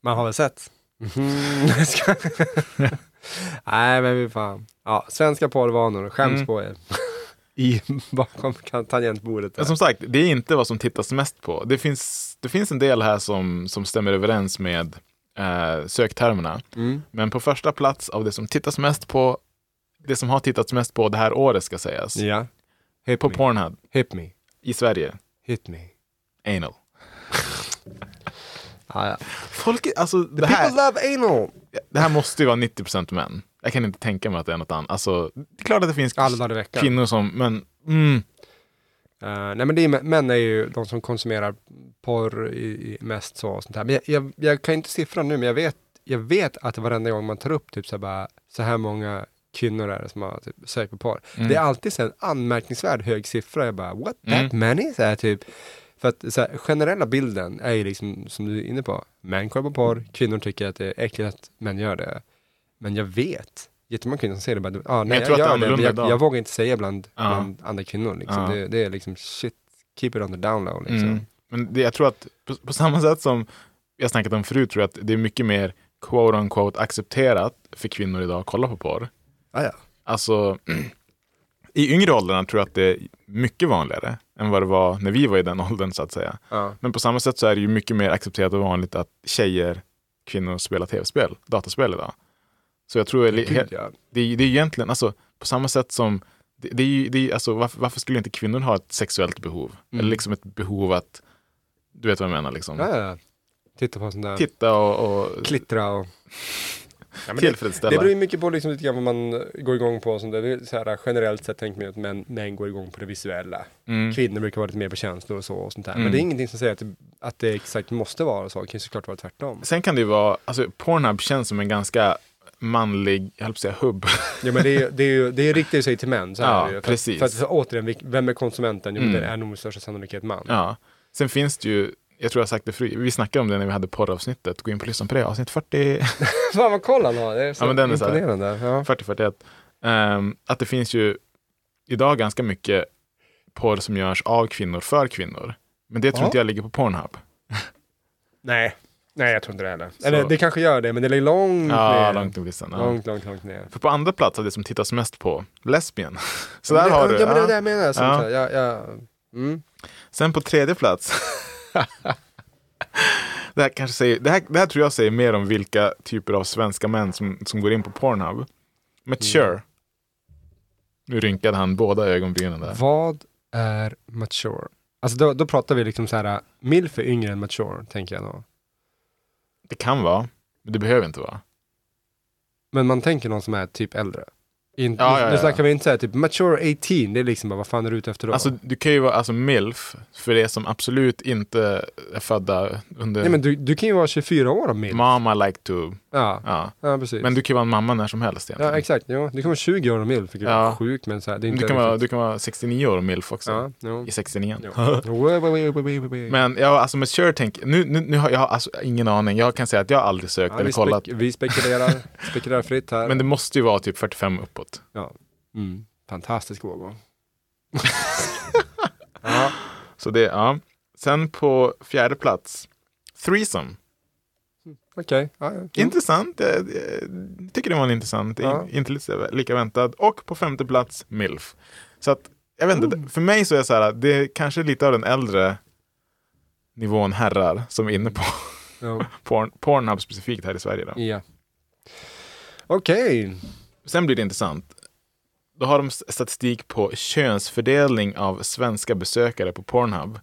Man har väl sett? Mm, Jag ska- Nej, men vi fan. Ja, svenska porrvanor, skäms
Mm.
på er. I, bakom kan- tangentbordet. Där.
Men som sagt, det är inte vad som tittas mest på. Det finns, det finns en del här som, som stämmer överens med eh, söktermerna.
Mm.
Men på första plats av det som tittas mest på, det som har tittats mest på det här året ska sägas.
Ja. Hit
På
me.
Pornhub
Hit me.
i Sverige,
Hit me.
anal.
Ja, ja.
Folk, är- alltså det här,
People love anal.
det här måste ju vara 90% män. Jag kan inte tänka mig att det är något annat. Alltså, det är klart att det finns
Alla dagar i veckan.
kvinnor som, men mm,
Eh, nej men det är, mä- män är ju de som konsumerar porr i, i mest så och sånt här. Men jag, jag, jag kan inte siffran nu, men jag vet, jag vet att varenda gång man tar upp typ så här, bara, så här många kvinnor är det som har typ, sökt på porr.
Mm.
Det är alltid så här en anmärkningsvärd hög siffra. Jag bara, what that
Mm.
many? Så här, typ. För att så här, generella bilden är ju liksom, som du är inne på, män kollar på porr, kvinnor tycker att det är äckligt att män gör det. Men jag vet jättemånga kvinnor som säger det bara, ah, nej,
jag
jag,
tror att det är
gör det, men
annorlunda
jag,
idag."
jag vågar inte säga bland,
Ja.
bland andra kvinnor. Liksom.
Ja.
Det, det är liksom shit, keep it on the down low. Liksom.
mm. Men det, jag tror att på, på samma sätt som jag snackat om förut, tror jag att det är mycket mer quote unquote accepterat för kvinnor idag att kolla på porr.
Ah, ja.
Alltså, i yngre åldrarna tror jag att det är mycket vanligare än vad det var när vi var i den åldern så att säga.
Ja.
Men på samma sätt så är det ju mycket mer accepterat och vanligt att tjejer, kvinnor spelar tv-spel, dataspel idag. Så jag tror,
Gud,
he-
ja.
det är, det är egentligen, alltså på samma sätt som, det, det är, ju- det är, alltså, varför, varför skulle inte kvinnor ha ett sexuellt behov? Eller liksom ett behov att, du vet vad jag menar liksom.
Mm. Ja, Ah, ja. Titta på sånt där,
Titta och, och
klittra och... Ja, men det-
tillfredsställa.
Det beror ju mycket på liksom lite grann vad man går igång på och sånt där. Det är så här, eh, generellt sett tänker man ju att män, män går igång på det visuella.
Mm.
Kvinnor brukar vara lite mer på känslor och så och sånt där. Men det är ingenting som säger att det, att det exakt måste vara så. Det kan ju såklart vara tvärtom.
Sen kan det ju vara, alltså Pornhub känns som en ganska manlig, jag höll på att säga hubb.
Ja, men det, är, ju- det, är ju, det riktar ju sig till män. Så här är
Ja,
det ju. för,
precis. Mm.
För att, för återigen, vilk- vem är konsumenten? Jo, det är nog med största sannolikhet man.
Ja. Sen finns det ju, jag tror jag har sagt det förut, vi snackade om det när vi hade porravsnittet, gå in på och lyssna på det, avsnitt 40,
Fan vad koll han har. Det är så
Ja, men den är så här-
imponerande. Ja.
40 41, ehm, att det finns ju idag ganska mycket porr som görs av kvinnor för kvinnor. Men det tror
Ja.
inte jag ligger på Pornhub.
Nej. Nej, jag tror inte det heller.
Så-
Eller det kanske gör det, men det är långt
Ja,
ner.
långt upp i listan. Ja.
långt, långt, långt ner.
För på andra plats av det som tittas mest på, lesbien. Så där har du.
Ja, men det är det
ja.
jag menar. Sånt
Ja.
här. Ja, ja. Mm.
Sen på tredje plats. det, här kanske säger, det, här, det här tror jag säger mer om vilka typer av svenska män som, som går in på Pornhub. Mature. Nu rynkade han båda ögonbrynen där.
Vad är mature? Alltså då, då pratar vi liksom så här, milf är yngre än mature, tänker jag då.
Det kan vara, men det behöver inte vara.
Men man tänker någon som är typ äldre. In,
Ja, ja,
Nu
ja.
snackar vi inte så här, typ mature 18, det är liksom bara, vad fan är du ute efter då?
Alltså du kan ju vara alltså, milf för det som absolut inte är födda under
Nej men du, du kan ju vara 24 år om milf.
mama like to.
ja.
Ja.
ja, precis.
Men du kan ju vara en mamma när som helst egentligen.
Ja, exakt. Jo. Du kan vara 20 år om milf, vilket
Ja.
är sjukt, men så här, det är inte liksom-
du, kan vara,
riktigt-
du kan vara 69 år och milf också.
Ja, jo.
I 69.
Men
Men ja, alltså mature tänk, nu, nu, nu har jag alltså ingen aning, jag kan säga att jag aldrig sökt eller
vi,
kollat.
spek- vi spekulerar, spekulerar fritt här.
Men det måste ju vara typ 45 uppåt.
ja. mm. Fantastisk årgång.
Så det, ja. Sen på fjärde plats, threesome.
Okej. Ja, ja.
Intressant, jag, jag tycker det var en intressant, in-
Ja.
inte lite lika väntad. Och på femte plats, milf. Så att, jag vet
Oh.
inte, för mig så är det så här, att det är kanske lite av den äldre nivån herrar som är inne på
Jo.
porn, Pornhub specifikt här i Sverige. Då.
Ja. Okej.
Sen blir det intressant. Då har de s- statistik på könsfördelning av svenska besökare på Pornhub.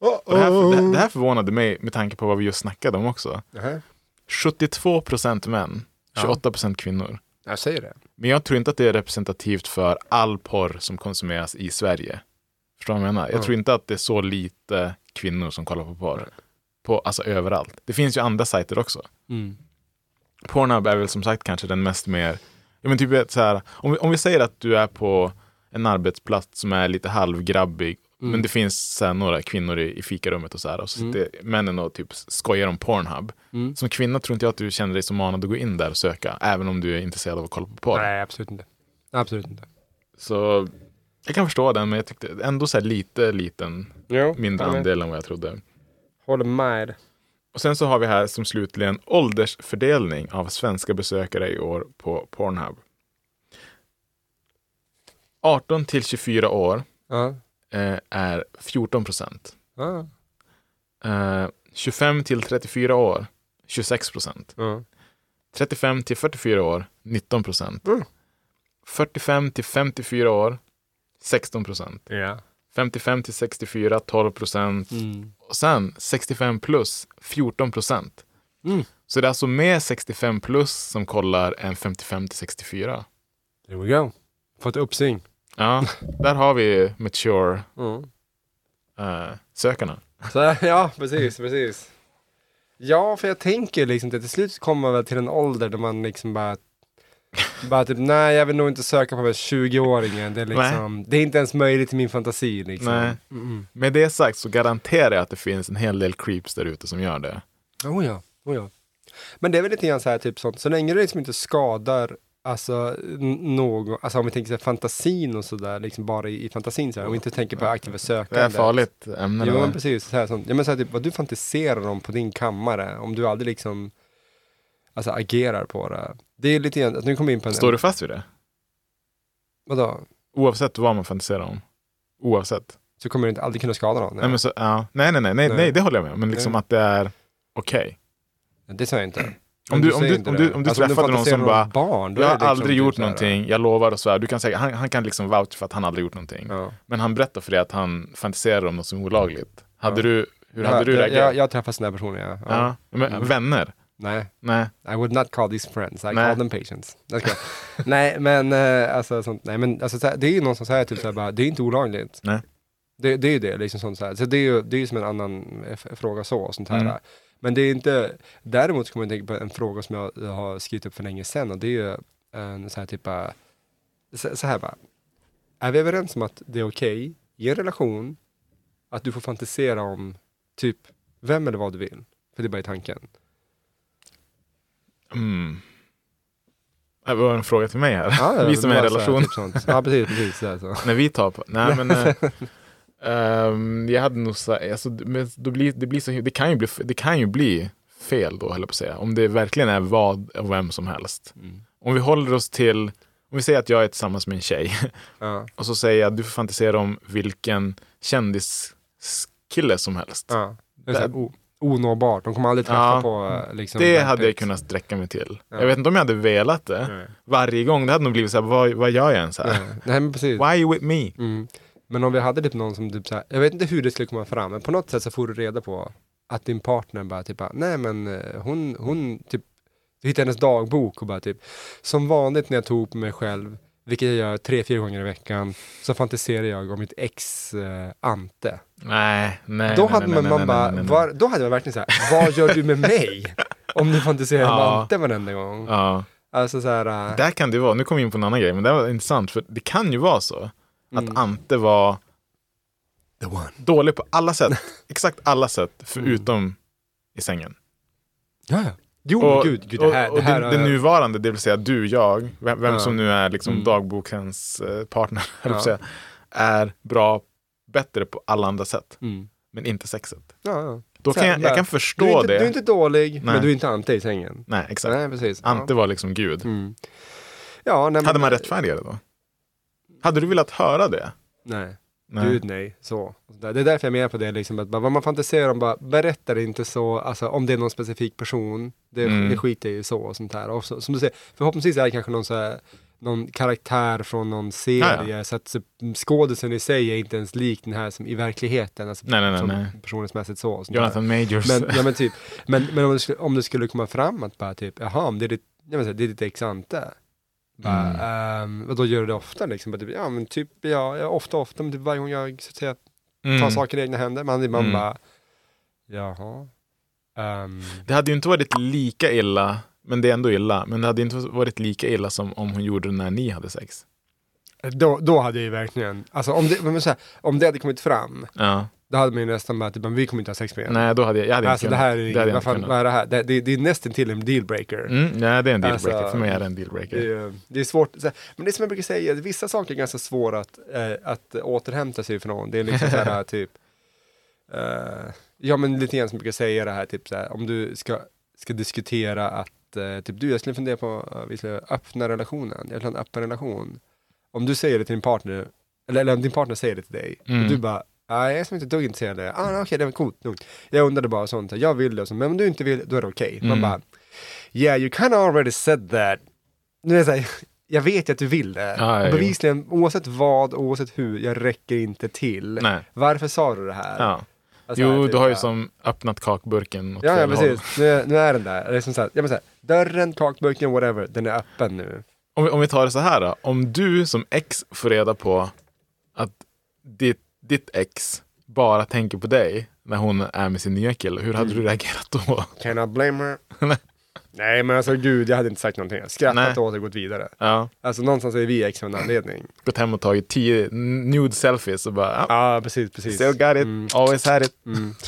Och det, här, det,
Oh.
här- det här förvånade mig med tanke på vad vi just snackade om också.
Jaha.
72 procent män, 28 procent kvinnor.
Jag säger det.
Men jag tror inte att det är representativt för all porr som konsumeras i Sverige. Förstår du vad jag menar? Jag tror inte att det är så lite kvinnor som kollar på porr. På, alltså överallt. Det finns ju andra sajter också. Pornhub är väl som sagt kanske den mest mer, ja men typ vet så här, om vi, om vi säger att du är på en arbetsplats som är lite halvgrabbig, men det finns så här, några kvinnor i, i fikarummet och så här, och så sitter männen och typ skojar om Pornhub. Som kvinna tror inte jag att du känner dig så manad att gå in där och söka, även om du är intresserad av att kolla på porr.
Nej, absolut inte. Absolut inte.
Så jag kan förstå den, men jag tyckte ändå så här lite liten,
Jo,
mindre
jag med.
andel än vad jag trodde.
Håller med.
Och Och sen så har vi här som slutligen åldersfördelning av svenska besökare i år på Pornhub. 18 till 24 år
Ja.
eh, är 14 procent.
Ja.
Eh, 25 till 34 år, 26 procent.
Ja.
35 till 44 år, 19 procent.
Mm.
45 till 54 år, 16 procent.
ja.
55 till 64, 12 procent.
Mm.
Och sen 65 plus, 14 procent.
Mm.
Så det är alltså mer 65 plus som kollar än 55 till 64.
There we go. Fått uppsving.
Ja, där har vi mature
Mm.
eh, sökarna.
Så, ja, precis, precis. Ja, för jag tänker liksom att till slut kommer man väl till en ålder där man liksom bara bara typ, nej jag vill nog inte söka på den här 20-åringen. Det är liksom, det är inte ens möjligt i min fantasi liksom.
Nej.
Mm.
Med det sagt så garanterar jag att det finns en hel del creeps där ute som gör det.
Oh ja, oh ja. Men det är väl lite grann så här, typ sånt, så länge det liksom inte skadar Alltså n- någon, alltså om vi tänker så här, fantasin och sådär, liksom bara i, i fantasin så här, om vi inte tänker på aktiva
Det
sökande.
är farligt ämne.
Jo,
det där.
men precis. Så här, som, ja, men så här, typ, vad du fantiserar om på din kammare, om du aldrig liksom alltså, agerar på det. Det är lite grann, att nu kommer vi in på en...
Står du fast vid det?
Vadå?
Oavsett vad man fantiserar om? Oavsett?
Så kommer du inte aldrig kunna skada någon?
Nej, men så, ja. nej, nej, nej, nej,
Nej.
nej, det håller jag med om. Men liksom
Nej.
att det är okej.
Det sa jag inte.
Om
Men
du, om
säger
du,
inte
om
det.
du, om du
Alltså,
träffade någon
fantiserar
som
om
bara,
Barn, då
jag
är det
har
liksom
aldrig
typ
gjort
så här,
någonting, jag lovar och svär. Du kan säga, han, han kan liksom vouch för att han aldrig gjort någonting.
Ja.
Men han berättar för dig att han fantiserar om något som är olagligt. Hade du, hur hade
Ja,
du
jag, jag,
reagerat?
jag har träffat sådana här personer, ja. Mm. ja.
Ja. Men, Vänner?
Nej,
Nej.
I would not call these friends, I
Nej.
call them patients. Jag skojar. nej, men eh, alltså, sånt, nej, men alltså, så här, det är ju någon som säger typ så här, bara, det är inte olagligt.
Nej.
Det, det är ju det, liksom sånt så här. Så det är ju det är ju som en annan eh, f- fråga så, och sånt här.
Mm.
Men det är inte, däremot så kommer jag att tänka på en fråga som jag jag har skrivit upp för länge sedan och det är ju en så här typ, eh, så, så här bara. Är vi överens om att det är okej i en relation att du får fantisera om typ vem eller vad du vill? För det är bara i tanken.
Mm. Det var en fråga till mig här.
ja,
vi som är
bara
i
så här,
relation.
Typ sånt. Ja, precis, precis. Så här, så.
När vi tar på. Nej men. eh, ehm, jag hade nog sagt, alltså, men då blir, det, blir så, det, kan ju bli, det kan ju bli fel då, höll jag på att säga. Om det verkligen är vad och vem som helst.
Mm.
Om vi håller oss till, om vi säger att jag är tillsammans med en tjej.
Ja,
Och så säger jag, du får fantisera om vilken kändiskille som helst.
ja. Det är så här, o- onåbart, de kommer aldrig träffa
Ja.
på eh, liksom,
Det
Brad
hade jag
Pitt.
kunnat sträcka mig till.
Ja.
Jag vet inte om jag hade velat det.
Nej.
Varje gång. Det hade nog blivit så här, vad, vad gör jag ens här?
Nej, nej, men precis.
Why are you with me?
Mm. Men om vi hade typ någon som typ så här, jag vet inte hur det skulle komma fram, men på något sätt så får du reda på att din partner bara typ, bara, nej men eh, hon, hon typ, du hittar hennes dagbok och bara typ, som vanligt när jag tog på mig själv, vilket jag gör tre, fyra gånger i veckan, så fantiserar jag om mitt ex eh, Ante.
Nej, nej.
då
nej,
hade
nej,
man,
nej,
man
nej,
bara,
nej, nej, nej.
Var, då hade man verkligen så här, vad gör du med mig? Om du fantiserar om
Ja.
Ante varenda gång.
Ja.
Alltså så här, eh,
Där kan det vara, nu kommer vi in på en annan grej, men det här var intressant. För det kan ju vara så att
Mm.
Ante var
the one.
dålig på alla sätt. Exakt alla sätt, förutom
Mm.
i sängen.
Ja, ja. Jo, men Oh gud, gud, det här,
och,
det här äh,
och
har
det, det
jag-
nuvarande, det vill säga du, jag, vem, vem
Ja.
som nu är liksom
Mm.
dagbokens eh, partner, höll jag på att
Ja.
säga, är bra, bättre på alla andra sätt,
Mm.
men inte sexet.
Ja, ja.
Då
Så
kan
här,
jag, jag
bara,
kan
Du är,
förstå
inte,
det.
du är inte dålig,
Nej.
men du är inte Ante i sängen.
Nej, exakt.
Nej, precis.
Ante
Ja.
var liksom gud.
Mm. Ja, nej, men,
Hade man rättfärdigat det då? Hade du velat höra det?
Nej.
Nej.
Gud nej, så. Det är därför jag menar på det, liksom, att bara, vad man fantiserar om, bara, berätta det inte så, alltså, om det är någon specifik person, det,
Mm.
det skiter jag ju så och sånt här. Och så, som du säger, förhoppningsvis är det kanske någon, så här, någon karaktär från någon serie,
Ja,
så att så, skådisen i sig är inte ens lik den här som, i verkligheten, alltså,
Nej, nej, nej,
som
nej.
personlighetsmässigt så. Och sånt där.
Jonathan Majors.
Men, ja, men, typ, men, men om, det skulle, om det skulle komma fram att bara typ, jaha, men det är ditt, jag menar, så här, det är ditt ex Ante.
Mm.
Bara, ehm, vadå, gör du det ofta liksom? Bara, typ, ja men typ, ja, ja, ofta, ofta, men typ varje gång jag så att säga, tar
Mm.
saker i egna händer. Man, man
Mm.
bara, jaha. Ehm,
Det hade ju inte varit lika illa, men det är ändå illa, men det hade inte varit lika illa som om hon gjorde det när ni hade sex.
då, då hade jag ju verkligen, alltså om det, men så här, om det hade kommit fram,
Ja.
då hade man ju nästan bara, typ, men vi kommer inte ha sex med igen.
Nej, då hade jag, jag hade inte
Alltså det
kunnat.
här är,
hade
ju-
jag
vad,
inte
fan,
kunnat.
vad är det här? Det, det, det är nästan till en dealbreaker.
Mm, nej, det är en
Alltså,
dealbreaker. För mig är det en dealbreaker.
Det är, det är svårt, så här, men det är som jag brukar säga, att vissa saker är ganska svåra att, eh, att återhämta sig ifrån. Det är liksom så här typ, eh, Ja men lite grann som jag brukar säga det här, typ så här, om du ska, ska diskutera att, eh, typ du jag skulle fundera på, eh, vi skulle öppna relationen, jag vill ha en öppen relation. Om du säger det till din partner, eller, eller om din partner säger det till dig,
Mm.
och du bara, nej jag är som inte ett dugg intresserad av det, ah, okej det var coolt, lugnt. Jag undrade bara sånt, jag vill det, och så, men om du inte vill, då är det okej.
Mm.
Man bara, yeah you kind of already said that. Nu är det så här, jag vet ju att du vill det.
Ah, Ja,
Och
jo.
bevisligen, oavsett vad, oavsett hur, jag räcker inte till.
Nej.
Varför sa du det här?
Ja.
Alltså,
Jo,
typ,
du har ju
ja.
som öppnat kakburken åt
Ja, ja
fel håll.
precis. Nu, är- nu är den där. Det är som så här, ja, men så här, dörren, kakburken, whatever, den är öppen nu.
Om vi, om vi tar det så här då. Om du som ex får reda på att ditt, ditt ex bara tänker på dig när hon är med sin nya kille, hur
Mm.
hade du reagerat då?
Can I blame her? Nej, men alltså gud, jag hade inte sagt någonting. Jag Skrattat
Nej.
åt det och gått vidare.
Ja.
Alltså någonstans är vi ex av en anledning.
Gått hem och tagit tio nude selfies och bara ah,
Ja, precis, precis. Mm.
still got it, always had it.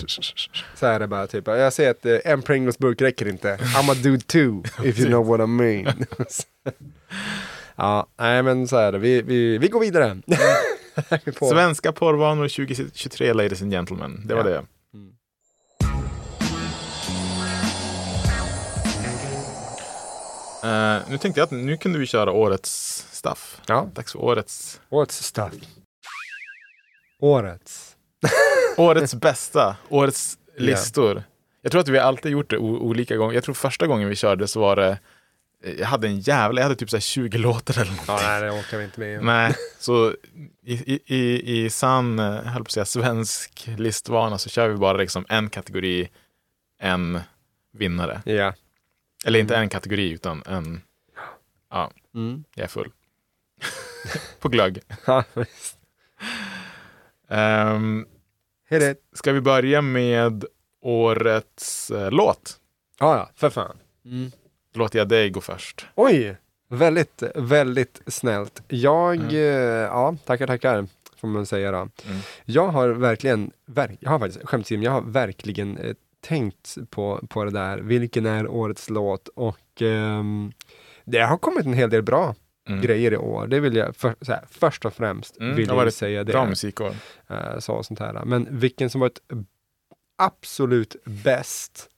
Så här är det bara typ, jag säger att eh, en Pringles-burk räcker inte. I'm a dude too, if you know what I mean. ja, nej men så är det. Vi, vi, vi går vidare. Vi får-
Svenska porrvanor 2023 ladies and gentlemen. Det var
Ja.
det. Eh, nu tänkte jag att nu kunde vi köra årets stuff.
Ja.
Dags för årets,
Årets stuff. Årets.
årets bästa, årets listor. Jag tror att vi alltid gjort det o- olika gånger. Jag tror första gången vi körde så var det, jag hade en jävla, jag hade typ så här 20 låtar eller någonting.
Ja, nej, det orkar vi inte med.
Nej, så i, i- i, i sann, eh, höll på att säga, svensk listvana så kör vi bara liksom en kategori, en vinnare.
Ja.
Eller inte en kategori utan en, ja,
Mm.
jag är full. på glögg.
Ja, visst.
Ehm,
Hit it.
ska vi börja med årets eh, låt?
Ja, ja, för fan.
Då låter jag dig gå först.
Oj! Väldigt, väldigt snällt. Jag,
Mm.
eh, ja, tackar, tackar, får man säga då. Jag har verkligen, verk, jag har faktiskt, skämt till, jag har verkligen eh, tänkt på, på det där, vilken är årets låt och ehm, det har kommit en hel del bra
Mm.
grejer i år. Det vill jag, för, så här, först och främst
Mm,
vill
det har
jag ju
varit
säga det.
Bra musikår.
eh, sa och sånt här. Men vilken som varit absolut bäst,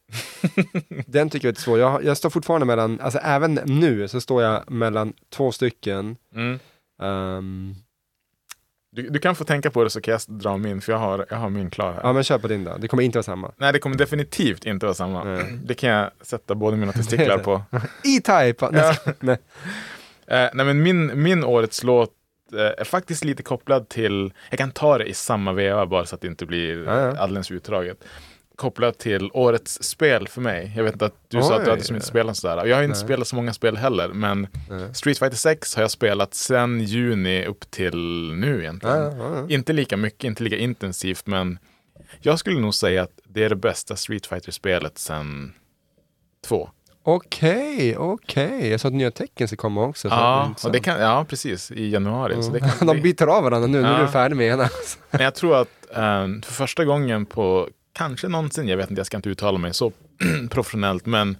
den tycker jag är svår. Jag, jag står fortfarande mellan, alltså även nu så står jag mellan två stycken.
Mm.
Ehm,
Du, du kan få tänka på det så kan jag dra min, för jag har, jag har min klar här.
ja men kör på din då, det kommer inte vara samma. Eh,
Nej, det kommer definitivt inte vara samma.
Nej.
Det kan jag sätta båda mina testiklar på.
E-Type! Nej, nej.
Eh, nej, men min, min årets låt eh, är faktiskt lite kopplad till, jag kan ta det i samma veva bara så att det inte blir
Ja, ja.
alldeles utdraget. Kopplad till årets spel för mig. Jag vet inte att du sa att
Oj.
du hade som inte spelat sådär. Jag har ju inte spelat så många spel heller, men Street Fighter 6 har jag spelat sedan juni upp till nu egentligen.
Ja, ja, ja.
Inte lika mycket, inte lika intensivt, men jag skulle nog säga att det är det bästa Street Fighter-spelet sedan två.
Okej, okej. Jag sa att nya tecken ska komma också. Mm, så det är
Ja,
inte
och det kan, ja, precis. I januari. Så det
sant.
kan,
De byter av varandra nu när
Ja.
du är färdig med ena.
Men jag tror att eh, för första gången på kanske någonsin, jag vet inte, jag ska inte uttala mig så professionellt, men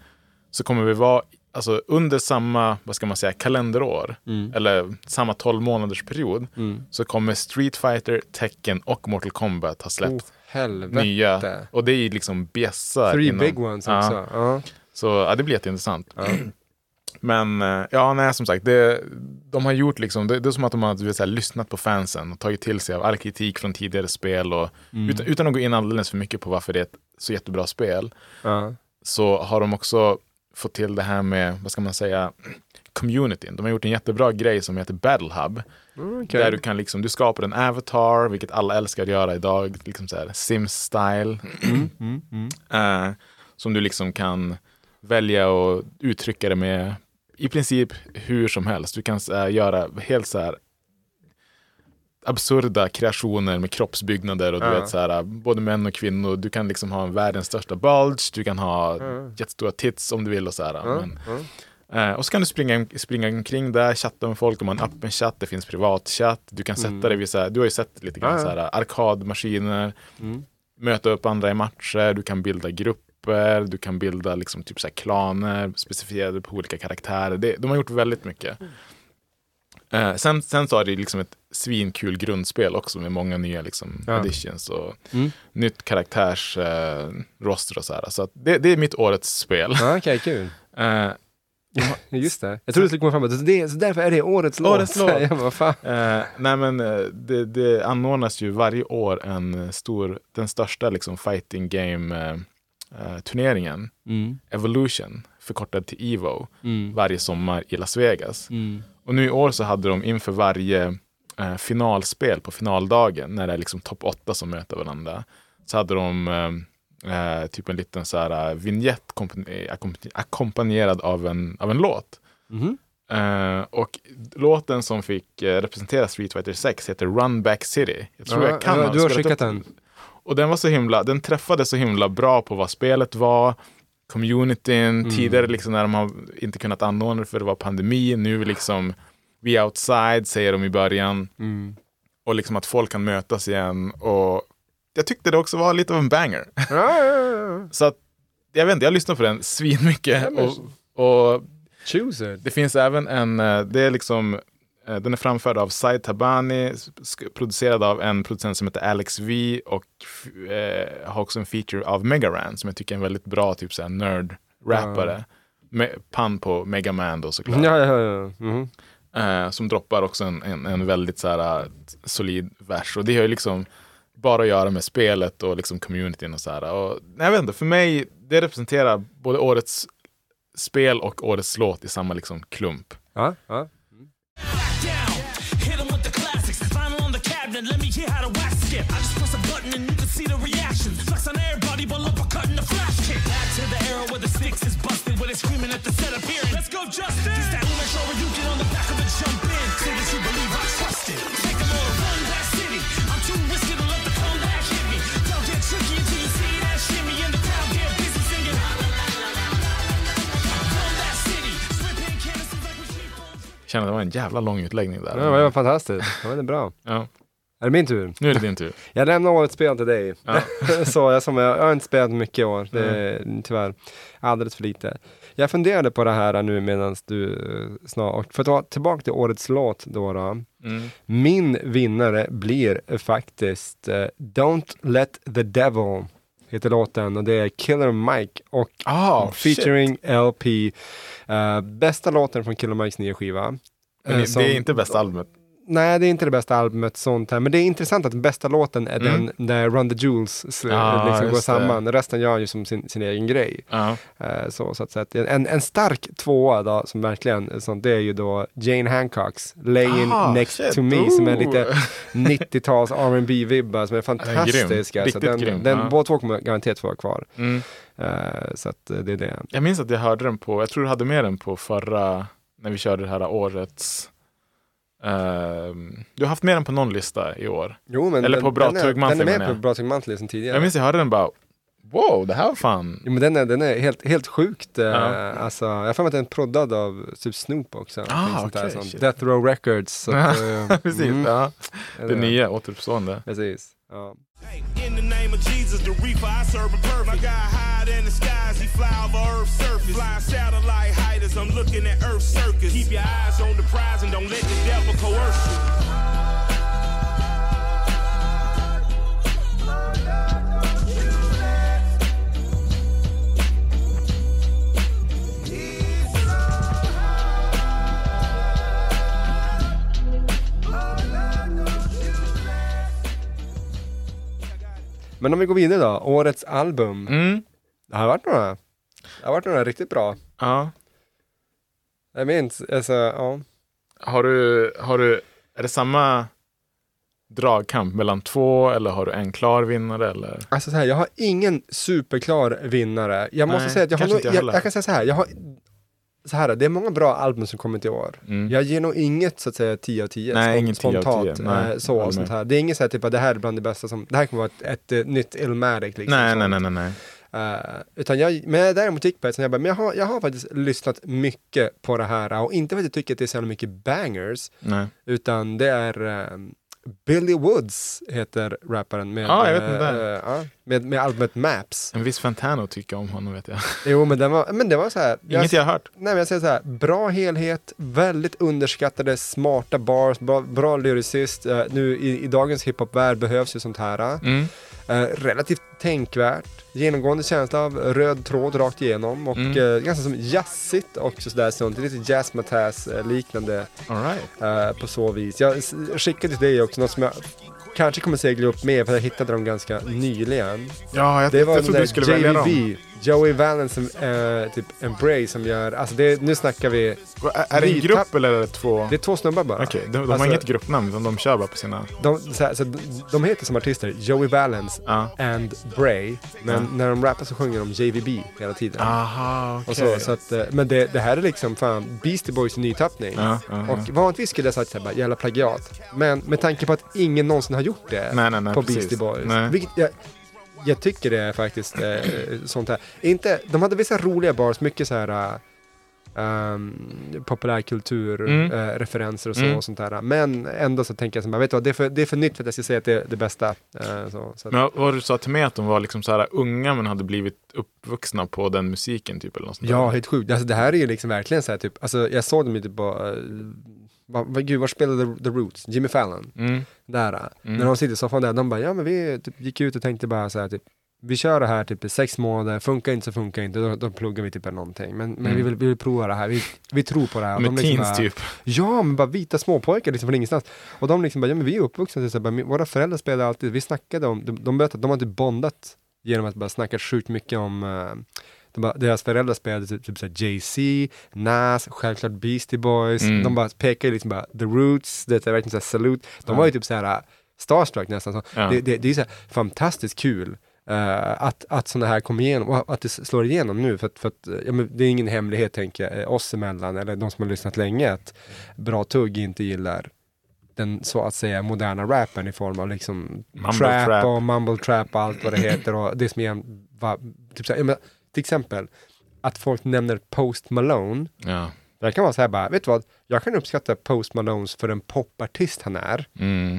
så kommer vi vara alltså, under samma, vad ska man säga, kalenderår,
Mm.
eller samma 12 månaders period, så kommer Street Fighter, Tekken och Mortal Kombat ha
Oh,
släppt
helvete.
nya. Och det är ju liksom bjässar.
Three
inom-
big ones
Ja.
också. Ja.
Så ja, det blir jätteintressant. Men eh, ja, nej, som sagt, det, de har gjort liksom, det, det är som att de har du vet, så här, lyssnat på fansen och tagit till sig av all kritik från tidigare spel och utan, utan att gå in alldeles för mycket på varför det är ett så jättebra spel
Ja.
så har de också fått till det här med, vad ska man säga, communityn. De har gjort en jättebra grej som heter Battle Hub.
Mm,
Där du kan liksom, du skapar en avatar, vilket alla älskar att göra idag, liksom så här Sims-style. Eh, som du liksom kan välja och uttrycka det med i princip hur som helst. Du kan eh, göra helt så här absurda kreationer med kroppsbyggnader och du
Ja.
vet så här, både män och kvinnor. Du kan liksom ha världens största bulge, du kan ha jättestora tits om du vill och så här. Men, Eh, och så kan du springa, springa omkring där, chatta med folk om man har en öppen chatt, det finns privatchatt. Du kan sätta dig vid, så här, du har ju sett lite grann
Mm. Ja, Mm. ja.
så här, eh, arkadmaskiner, möta upp andra i matcher, du kan bilda grupper, du kan bilda liksom,
Mm.
typ så här, klaner specificerade på olika karaktärer. Det, de har gjort väldigt mycket. Eh, sen, sen så har det liksom ett svinkul grundspel också med många nya liksom,
Ja.
additions och
Mm.
nytt karaktärs eh, roster och så här. Så att det, det är mitt årets spel.
Ja, Okej, kul.
Eh,
Just det. Jag trodde du skulle komma fram med så, det, så därför är det årets låt.
Årets låt.
Jag bara, vad fan.
Eh, nej men eh, det, det anordnas ju varje år en eh, stor, den största liksom fighting game eh, eh, turneringen,
Mm.
Evolution, förkortad till Evo,
Mm.
varje sommar i Las Vegas.
Mm.
Och nu i år så hade de inför varje eh, finalspel på finaldagen, när det är liksom topp 8 som möter varandra, så hade de eh, eh, typ en liten så här eh, vignett kompan- eh, akompani- ackompanjerad av en, av en låt.
Mhm.
Eh, och låten som fick eh, representera Street Fighter 6 heter Run Back City. Jag tror
Ja,
jag kan
ja,
ha
du har
spelat
skickat den.
upp- Och den var så himla, den träffade så himla bra på vad spelet var, communityn, tidigare liksom när de har inte kunnat anordna det för det var pandemi, nu liksom We outside säger de i början. Och liksom att folk kan mötas igen. Och jag tyckte det också var lite av en banger. så att, jag vet inte, jag lyssnar på den svinmycket. Och, och
Choose it.
det finns även en, eh, det är liksom, eh, den är framförd av Said Tabani, sk- producerad av en producent som heter Alex V och f- eh, har också en feature av Megaran som jag tycker är en väldigt bra typ såhär nerd-rappare. Med pan på Megaman då såklart.
Ja, ja, ja. Mhm.
Eh, som droppar också en, en, en väldigt såhär, eh, solid vers. Och det har ju liksom bara att göra med spelet och liksom communityn och såhär. Och, nej, jag vet inte, för mig, det representerar både årets spel och årets låt i samma liksom klump.
ja, ja.
down. Hit 'em with the classics. Vinyl on the cabinet, let me hear how to wax skip. I just press a button and you can see the reaction. Flex on everybody, but look, cutting the flash kick. Back to the era where the sticks is busted, where they screaming at the set appearing. Let's go, Justin! It's that Umash over, you get on the back of a jump in. Say that you believe I trust it. Take a little run back city. I'm too risky to let the comeback hit me. Don't get tricky until you see that shimmy in the crowd. Get busy singing. Run that city. Flipping canisters like we keep on.
känner att det var en jävla lång utläggning där.
Ja, det var fantastiskt. Det var bra.
Ja,
Är det min tur?
nu är det din tur.
Jag lämnar årets spel till dig. så jag, som jag, jag har inte spelat mycket i år, det är, tyvärr. Alldeles för lite. Jag funderade på det här nu medan du eh, snart... För att ta tillbaka till årets låt då. då. Min vinnare blir faktiskt eh, Don't Let The Devil, heter låten. Och det är Killer Mike och
Ah,
featuring LP. Eh, bästa låten från Killer Mikes nya skiva.
Men
Eh,
det,
som-
det är inte bästa albumet.
Nej, det är inte det bästa albumet, sånt här. men det är intressant att bästa låten är den där Run the Jewels sl-
Ah,
liksom går
Mm. just det.
samman. Resten gör ju som sin, sin egen grej.
Ja.
Eh, så, så att, så att, en, en stark tvåa då, som verkligen, är sånt, det är ju då Jane Hancocks Laying
Ah,
Next
shit.
to Me, som är
Ooh.
lite 90-tals rb vibbar som är fantastiska. så
Riktigt
den,
grym,
den,
ja.
Båda två kommer garanterat få vara kvar.
Mm.
Eh, så att eh, det är det.
Jag minns att jag hörde den på, jag tror du hade med den på förra, när vi körde det här årets. ehm, du har haft med den på någon lista i år.
Jo, men
Eller
den,
på Bra
den, är,
Tugg Monthly,
den är
menar
med på
jag.
Bra Tugg Monthly sen tidigare.
Jag minns att jag hörde den bara, wow, det här var fan.
Jo, men den är, den är helt, helt sjukt. eh,
Ja. Ah,
Alltså, jag har för mig att den är proddad av typ Snoop också. Någonting sånt där
okej,
som
shit.
Death Row Records. Så att, eh,
Precis,
mm,
ja.
är
det nya återuppstående.
Precis. Ja.
In the name of Jesus, the reaper I serve a perfect. My God high in the skies, he fly over Earth's surface. Flying satellite height as I'm looking at Earth's circus. Keep your eyes on the prize and don't let the devil coerce you.
Men om vi går vidare då. Årets album.
Mm.
Det har varit några. Det har varit några riktigt bra.
Ja.
Jag minns, alltså, ja.
Har du, har du, är det samma dragkamp mellan två eller har du en klar vinnare? Eller?
Alltså så här, jag har ingen superklar vinnare. Jag måste
Nej,
säga att jag har
kanske
nog,
inte jag
jag, jag,
heller.
kan säga så här, jag har, så här, det är många bra album som kommit i år. Jag ger nog inget så att säga 10 av 10
Mm. Nej,
spon-
ingen 10 av 10,
spontant.
nej.
eh, så,
Håller
och sånt
med.
här. Det är inget så här typ att det här är bland det bästa som, det här kommer vara ett, ett, eh, nytt Illmatic liksom.
Nej,
sånt.
nej, nej, nej, nej.
Eh, utan jag, men jag däremot gick på ett sånt, jag bara, men jag har, jag har faktiskt lyssnat mycket på det här och inte för att jag tycker att det är så jävla mycket bangers,
nej.
utan det är eh, Billy Woods heter rapparen med,
Ja, jag vet inte.
eh, eh, ja, med, med albumet Maps.
En viss Fantano tycker om honom vet jag.
Jo, men den var, men den var så här. jag-
Inget jag har hört.
Nej, men jag säger så här. Bra helhet, väldigt underskattade, smarta bars, bra, bra lyricist. Eh, nu i, i dagens hiphop-värld behövs ju sånt här.
Mm.
Eh, relativt tänkvärt, genomgående känsla av röd tråd rakt igenom och
Mm.
eh, ganska som jazzigt också sådär sånt. Lite jazz Mataz eh, liknande
All right.
eh, på så vis. Jag s- skickade till dig också något som jag kanske kommer segla upp med för jag hittade dem ganska nyligen.
Ja, jag,
Det var
jag trodde du
den
skulle
där
välja dem.
JVV, Joey Valens, eh, typ Embrace som gör, alltså det, nu snackar vi,
Va, Är är det en
Vita-
grupp eller är det två?
det är två snubbar bara.
Okej, de, de
Alltså,
har inget gruppnamn utan de kör bara på sina...
De, så här, så de, de heter som artister Joey Valens
Ja.
and Bray, men
Ja.
när de rappar så sjunger de JVB hela tiden.
Ah. Aha,
Och så, så att, eh, men det, det här är liksom fan Beastie Boys nytappning.
Ja, ja, ja.
Och vanligtvis skulle jag sagt såhär bara, jävla plagiat. Men med tanke på att ingen någonsin har gjort det
Nej, nej, nej,
på
precis.
Beastie Boys.
Nej.
Vilket jag, jag tycker det är faktiskt eh, sånt här. Inte, de hade vissa roliga bars, mycket så här eh, um,
Mm.
populärkulturreferenser eh, referenser och så.
Mm.
Och sånt där. Men ändå så tänker jag som här, vet du vad, det är för, det är för nytt för att jag ska säga att det är det bästa. Eh, så, så att,
Men vad- vad du sa till mig att de var liksom så här unga men hade blivit uppvuxna på den musiken typ eller något sånt där.
Ja, helt sjukt. Alltså, det här är ju liksom verkligen så här typ, alltså jag såg dem ju typ bara, eh, vad, vad, gud, var spelade The, The Roots? Jimmy Fallon?
Mm.
Där. eh. När de sitter i soffan där, de bara, ja men vi typ, gick ut och tänkte bara så här typ, vi kör det här typ i sex månader, funkar inte så funkar inte, då, då pluggar vi typ eller någonting. Men, men vi, vill, vi vill prova det här, vi, vi tror på det här. Och
Mm. Med
de liksom
teens
bara,
typ.
Ja, men bara vita småpojkar liksom från ingenstans. Och de liksom bara, ja men vi är uppvuxna till så här, bara, "Men våra föräldrar spelade alltid, vi snackade om, de, de berättade att de har typ bondat genom att bara snacka sjukt mycket om eh, de bara, deras föräldrar spelade typ, typ såhär Jay-Z, Nas, självklart Beastie Boys.
Mm.
De bara pekade liksom bara the roots, det är verkligen såhär salute. De var ju typ såhär äh, starstruck nästan. Så.
Ja.
Det, det, det är ju såhär fantastiskt kul. eh, att, att sådana här kommer igenom och att det slår igenom nu för att, för att eh, ja, men det är ingen hemlighet tänker jag eh, oss emellan eller de som har lyssnat länge att bra tugg inte gillar den så att säga moderna rappen i form av liksom
Mumble
trap,
trap.
och mumble trap och allt vad det heter och det som är en, va, typ så här, ja, men, till exempel att folk nämner Post Malone.
Ja.
Det kan vara så här bara, vet du vad, jag kan uppskatta Post Malones för den popartist han är.
Mm.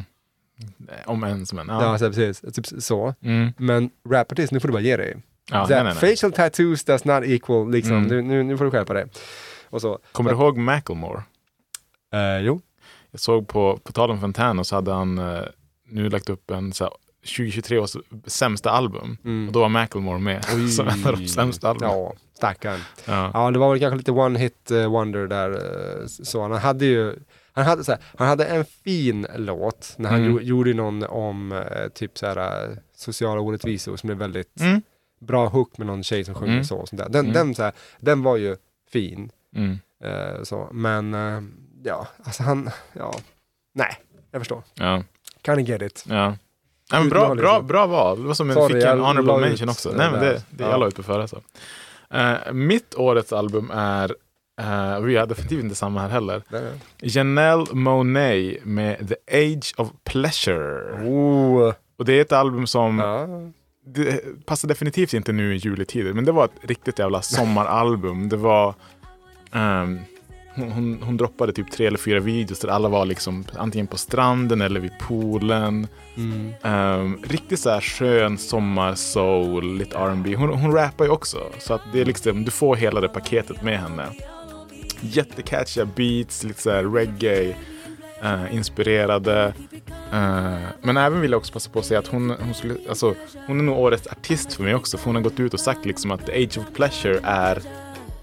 Om ens men.
Ja,
Ja.
så här, precis, typ så.
Mm.
Men rapartist, nu får du bara ge dig.
Ja,
Så
nej,
här,
nej, nej.
Facial tattoos does not equal, liksom,
Mm.
nu, nu, nu får du skärpa dig. Och så.
Kommer du ihåg Macklemore?
Eh, jo.
Jag såg på, på tal om Fontana och så hade han eh, nu lagt upp en så här, 2023 års sämsta album. Och då var Macklemore med som en av de sämsta albumen.
Ja, stackarn.
Ja.
Ja, det var väl kanske lite one hit eh, wonder där. eh, Så han hade ju, han hade, så här, han hade en fin låt när han
Mm.
gjo- gjorde någon om eh, typ så här eh, sociala orättvisor som är väldigt
Mm.
bra hook med någon tjej som sjunger
Mm.
så och sånt där. Den,
Mm.
den, så här, den var ju fin,
Mm.
eh, så. men eh, ja, alltså han, ja, nej, jag förstår.
Ja.
Can't get it.
Ja. Nej, men bra,
Utmaning,
bra,
alltså.
bra val. Det var som en
Sorry,
fick en
jag
honorable
la ut
mention också.
det
Nej, men
där.
det, det
Ja.
jag la ut på förra så. Eh, mitt årets album är, eh, vi har definitivt inte samma här heller,
Nej.
Janelle Monet med The Age of Pleasure.
Oh,
Och det är ett album som
ja.
det passar definitivt inte nu i juletider, men det var ett riktigt jävla sommaralbum. Det var... ehm, hon- hon, hon droppade typ tre eller fyra videos där alla var liksom antingen på stranden eller vid poolen.
Mm.
Ehm, riktigt så här skön sommar-soul, lite R&B. Hon, hon rappar ju också, så att det är liksom, du får hela det paketet med henne. Jättecatchiga beats, lite så här reggae, eh, inspirerade. Eh, men även vill jag också passa på att säga att hon, hon, skulle, alltså, hon är nog årets artist för mig också, för hon har gått ut och sagt liksom att The Age of Pleasure är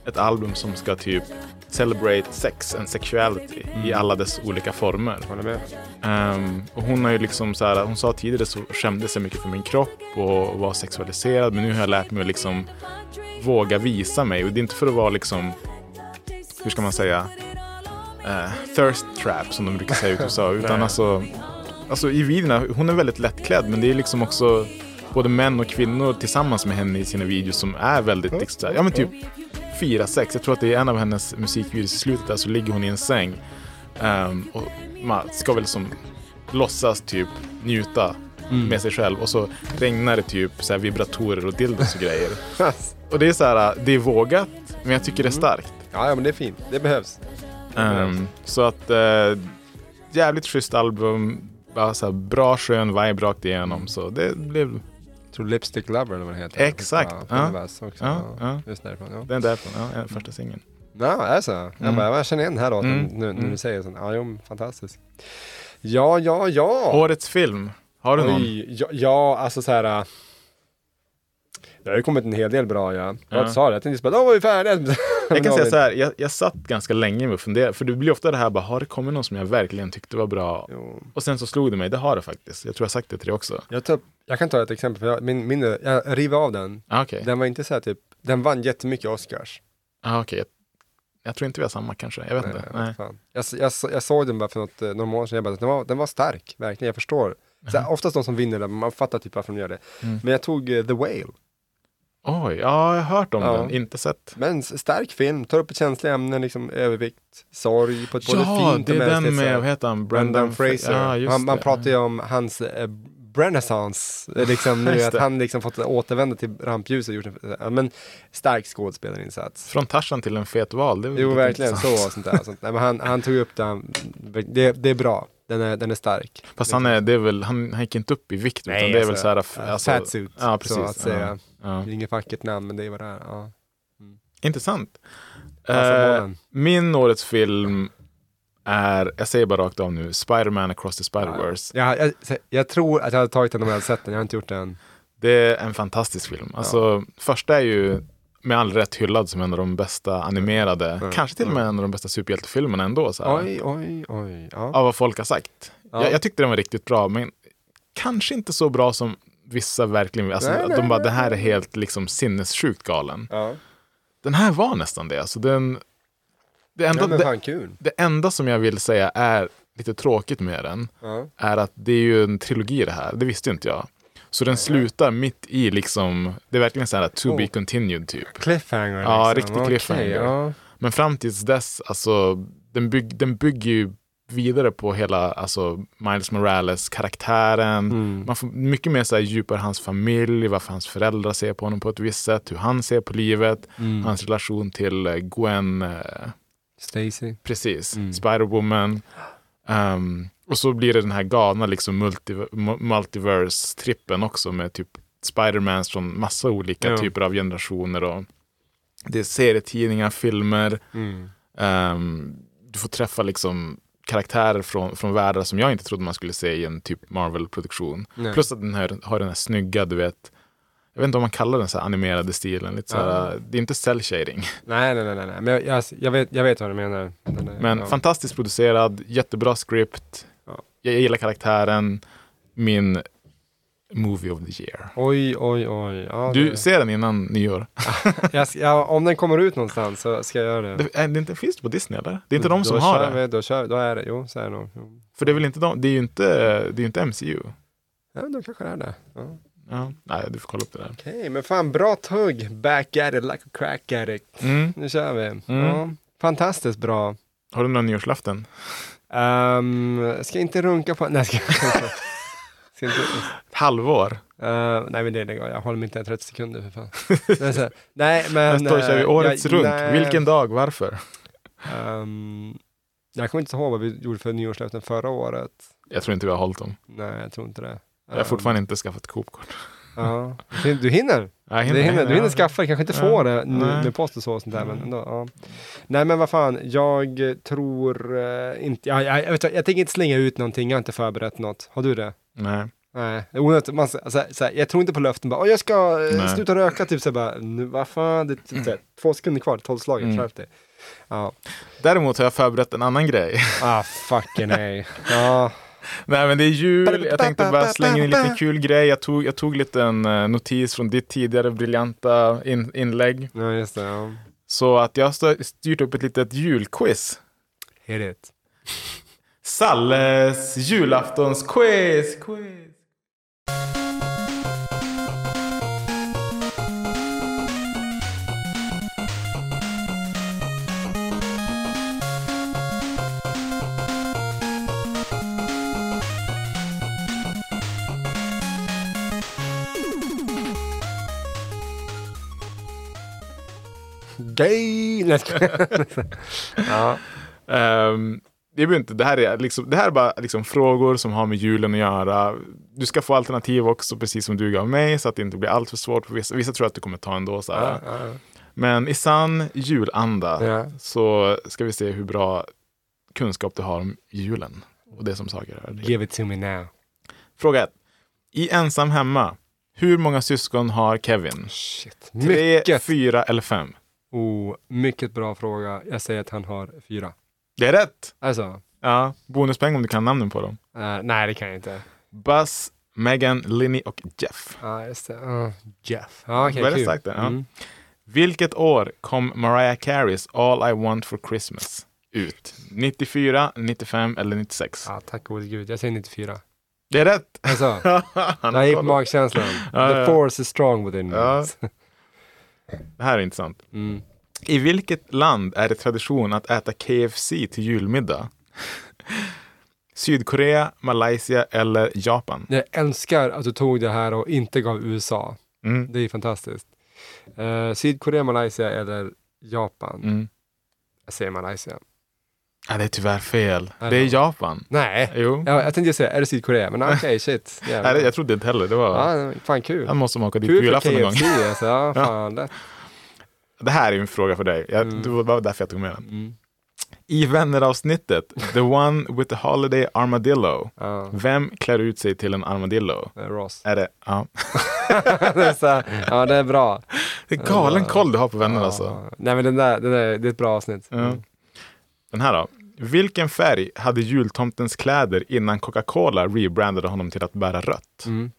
ett album som ska typ celebrate sex and sexuality i alla dess olika former.
Mm. Håller med.
Ehm, och hon har ju liksom så här, hon sa tidigare så skämdes jag mycket för min kropp och var sexualiserad men nu har jag lärt mig att liksom våga visa mig och det är inte för att vara liksom, hur ska man säga, eh, thirst trap som de brukar säga i USA utan alltså, alltså i videorna, hon är väldigt lättklädd men det är liksom också både män och kvinnor tillsammans med henne i sina videos som är väldigt, liksom, så här, ja men typ fyra, sex. Jag tror att det är en av hennes musikvideos i slutet där så ligger hon i en säng. Ehm, och man ska väl som låtsas typ njuta med sig själv och så regnar det typ så här vibratorer och dildos och grejer. Och det är så här, det är vågat men jag tycker det är starkt.
Ja, ja, men det är fint. Det behövs.
Ehm, så att eh, jävligt schysst album. bara så här, bra skön vibe rakt igenom. Så det blev
Jag tror Lipstick Lover eller vad den heter.
Exakt,
Ja,
ja.
från Vass också.
Ja, ja.
Just därifrån. Ja.
den därifrån, ja, första singeln.
Ja, alltså. Jag, bara, jag känner igen den här låten
Mm,
nu när
mm.
du säger sånt. Ja, jo, fantastisk. Ja, ja, ja.
Årets film, har du någon?
Oj, ja, ja, alltså så här. äh, Det har ju kommit en hel del bra ja. Jag
Ja.
sa det, jag tänkte bara, då var vi färdiga. Men
Jag
det
kan
var
säga
vi
så här, jag, jag satt ganska länge med att fundera, för det blir ofta det här bara, har det kommit någon som jag verkligen tyckte var bra?
Jo.
Och sen så slog det mig, det har det faktiskt. Jag tror jag sagt det till dig också.
Jag, tar, jag kan ta ett exempel, för jag, min, min, jag river av den.
Ah, Okej,
Den var inte så här typ, den vann jättemycket Oscars.
ah, okay. jag, jag tror inte vi har samma kanske, jag vet inte.
Eh,
Nej.
fan. Jag, s- jag, s- jag såg den bara för något, eh, några månader sedan, jag bara, den, var, den var stark, verkligen, jag förstår. Så
Mm.
här, oftast de som vinner, där, man fattar typ varför de gör det. Men jag tog eh, The Whale.
Oj, ja, jag har hört om
Ja.
den, inte sett.
Men s- stark film, tar upp ett känsliga ämnen, liksom övervikt, sorg på ett både
ja,
fint
det
och
är den
mänskligt
med,
sätt.
vad heter han?
Brendan, Fraser.
Ja, just
han, man
det.
pratar ju om hans eh, renaissance, eh, liksom, nu,
Just
att
det.
han liksom fått återvända till rampljuset. och Gjort en, ja, men stark skådespelarinsats.
Från Tarzan till en fet val. Det är väl
Jo,
lite
verkligen så.
intressant.
och Sånt där, sånt där. Men han, han tog upp den, det, det är bra. Den är, den är stark.
Fast han, är, det är väl, han, han gick inte upp i vikt,
Nej,
utan det är
alltså,
väl så här... f- Alltså,
Fatsuit,
Ja, precis.
så att säga.
Ja,
Det
ja.
är inget vackert namn, men det är vad det är. Ja.
Intressant.
Passar
Eh,
bollen.
min årets film är, jag säger bara rakt av nu, Spider-Man across the Spider-Verse.
Ja, jag, jag tror att jag hade tagit den om jag hade sett den, jag har inte gjort den.
Det är en fantastisk film. Alltså, första är ju med all rätt hyllad som en av de bästa animerade, kanske till och med en av de bästa superhjältefilmerna ändå. Så här.
Oj, oj, oj. Ja.
av vad folk har sagt.
Ja.
Jag, jag tyckte den var riktigt bra, men kanske inte så bra som vissa verkligen vill. Alltså,
Nej,
att
nej,
de bara, det här är helt liksom, sinnessjukt galen.
Ja.
Den här var nästan det. Alltså, den, det, enda,
Nej, men
det,
fan kul.
det enda som jag vill säga är lite tråkigt med den,
Ja.
är att det är ju en trilogi det här. Det visste inte jag. Så den slutar mitt i liksom, det är verkligen så här to be
Oh.
continued typ.
Cliffhanger
Ja,
liksom.
riktig
Okej,
cliffhanger.
ja.
Men fram tills dess, alltså, den, bygg, den bygger ju vidare på hela alltså, Miles
Mm.
Morales-karaktären. Man får mycket mer så här, djupare hans familj, varför hans föräldrar ser på honom på ett visst sätt, hur han ser på livet,
Mm.
hans relation till eh, Gwen, eh,
Stacy.
precis, Spider-Woman. Ehm, och så blir det den här galna liksom, multi- mu- multiverse-trippen också med typ Spider-Mans från massa olika
Ja.
typer av generationer. Och det är serietidningar, filmer,
Mm.
Ehm, du får träffa liksom karaktärer från, från världar som jag inte trodde man skulle se i en typ Marvel-produktion.
Nej.
Plus att den här, har den här snygga, du vet, jag vet inte om man kallar den så här animerade stilen. Lite så här, Det är inte cell shading,
Nej, nej, nej, nej, nej. Men jag, jag, jag, vet, jag vet vad du menar. Den är-
men
ja.
fantastiskt producerad, jättebra script.
Ja.
Jag gillar karaktären, min movie of the year.
Oj, oj, oj. Ja,
Du
det-
ser den innan nyår?
jag, ska- ja, om den kommer ut någonstans så ska jag göra det.
Det, är det inte, finns det på Disney eller? Det är inte
Då-
de som
Mm, då
har
kör
det.
Vi, då, kör, då är det, jo, så är det nog. Jo.
För det är väl inte de, det är ju inte, det är ju inte MCU.
Ja, då kanske det är det. Ja.
Ja. Nej, du får kolla upp det där.
Okej, men fan bra tugg. Back at it like a crack addict.
Mm.
Nu kör vi. Ja, fantastiskt bra.
Har du några nyårslöften?
Ehm, ska inte runka på... Nej, ska, ska inte...
Halvår.
Eh, nej men det, det jag håller mig inte 30 sekunder för fan. Det är så här, nej men...
Nästa år kör vi
eh,
årets
jag-
runt.
nej,
Vilken dag? Varför?
ehm, jag kommer inte ihåg vad vi gjorde för nyårslöften förra året.
Jag tror inte vi har hållit dem.
Nej jag tror inte det. Ehm,
Jag har fortfarande inte skaffat Coop-kort.
Ja. Du- Du hinner.
Jag
Du hinner, du hinner skaffa det, kanske inte få det nu
nej.
med post och så och sånt där. Men ändå, ja. Nej men vad fan, jag tror eh, inte, jag, jag, jag, vet, jag, jag tänker inte slänga ut någonting, jag har inte förberett något. Har du det?
Nej.
Nej, det är onödigt. Man, så, så, så, jag tror inte på löften bara, "Åh, jag ska eh,
Nej.
sluta röka, typ så bara, nu, vad fan, det är typ, så här, två sekunder kvar till tolvslaget,
Mm.
skärp dig. Ja,
Däremot har jag förberett en annan grej.
ah fucking nej. Ja,
Nej men det är jul, jag tänkte bara slänga in en liten kul grej. Jag tog, jag tog lite en eh, notis från ditt tidigare briljanta in, inlägg.
ja just det. Ja.
Så att jag har stö- styrt upp ett litet julquiz.
Hit it.
Salles julaftonsquiz! Quiz.
Gay! Nej, jag skojar. ja.
Ehm, det, behöver inte, det, här är liksom, det här är bara liksom frågor som har med julen att göra. Du ska få alternativ också, precis som du gav mig, så att det inte blir allt för svårt. För vissa, vissa tror att du kommer ta ändå. Så här. Men i sann julanda
Ja.
så ska vi se hur bra kunskap du har om julen och det som saker rör dig.
Give it to me now.
Fråga ett. I Ensam hemma, hur många syskon har Kevin?
Shit.
Tre,
Mycket,
fyra eller fem?
oh, mycket bra fråga. Jag säger att han har fyra.
Det är rätt!
Alltså,
Ja, bonuspeng om du kan namnen på dem.
eh, nej det kan jag inte.
Buzz, Megan, Linny och Jeff.
Ja, just det. Ja, Jeff. Ja, okej,
Väldigt
kul.
starkt där, ja.
Mm.
Vilket år kom Mariah Careys All I Want For Christmas ut? 94, 95 eller 96?
Ja, tack gode gud. Jag säger 94.
Det är rätt!
Alltså,
Han har
jag gick på
koll.
magkänslan.
Ja, ja.
The force is strong within me.
Ja. Det här är intressant.
Mm.
I vilket land är det tradition att äta KFC till julmiddag? Sydkorea, Malaysia eller Japan?
Jag älskar att du tog det här och inte gav USA.
Mm.
Det är fantastiskt. Eh, Sydkorea, Malaysia eller Japan?
Mm.
Jag säger Malaysia.
Ja, det är tyvärr fel.
Ja,
Det är
ja.
Japan.
Nej,
Jo.
ja, jag tänkte säga, är det Sydkorea? Men okej, shit.
Nej, det-
Jävlar.
jag trodde inte heller. Det var...
Ja, fan kul.
Han måste åka dit på
Kul för
julafton en gång.
KFC alltså. Ja, fan lätt.
Det här är ju en fråga för dig. Jag, Det var därför jag tog med den.
Mm.
I vänneravsnittet, The One With The Holiday Armadillo.
Ja,
Vem klär ut sig till en armadillo?
det är Ross.
Är det... Ja.
det är så här, ja, det är bra.
Det är galen koll du har på vänner alltså.
Ja. Nej men den där, den där, det är ett bra avsnitt. Mm.
Ja. Den här då. Vilken färg hade jultomtens kläder innan Coca-Cola rebrandade honom till att bära rött?
Mm.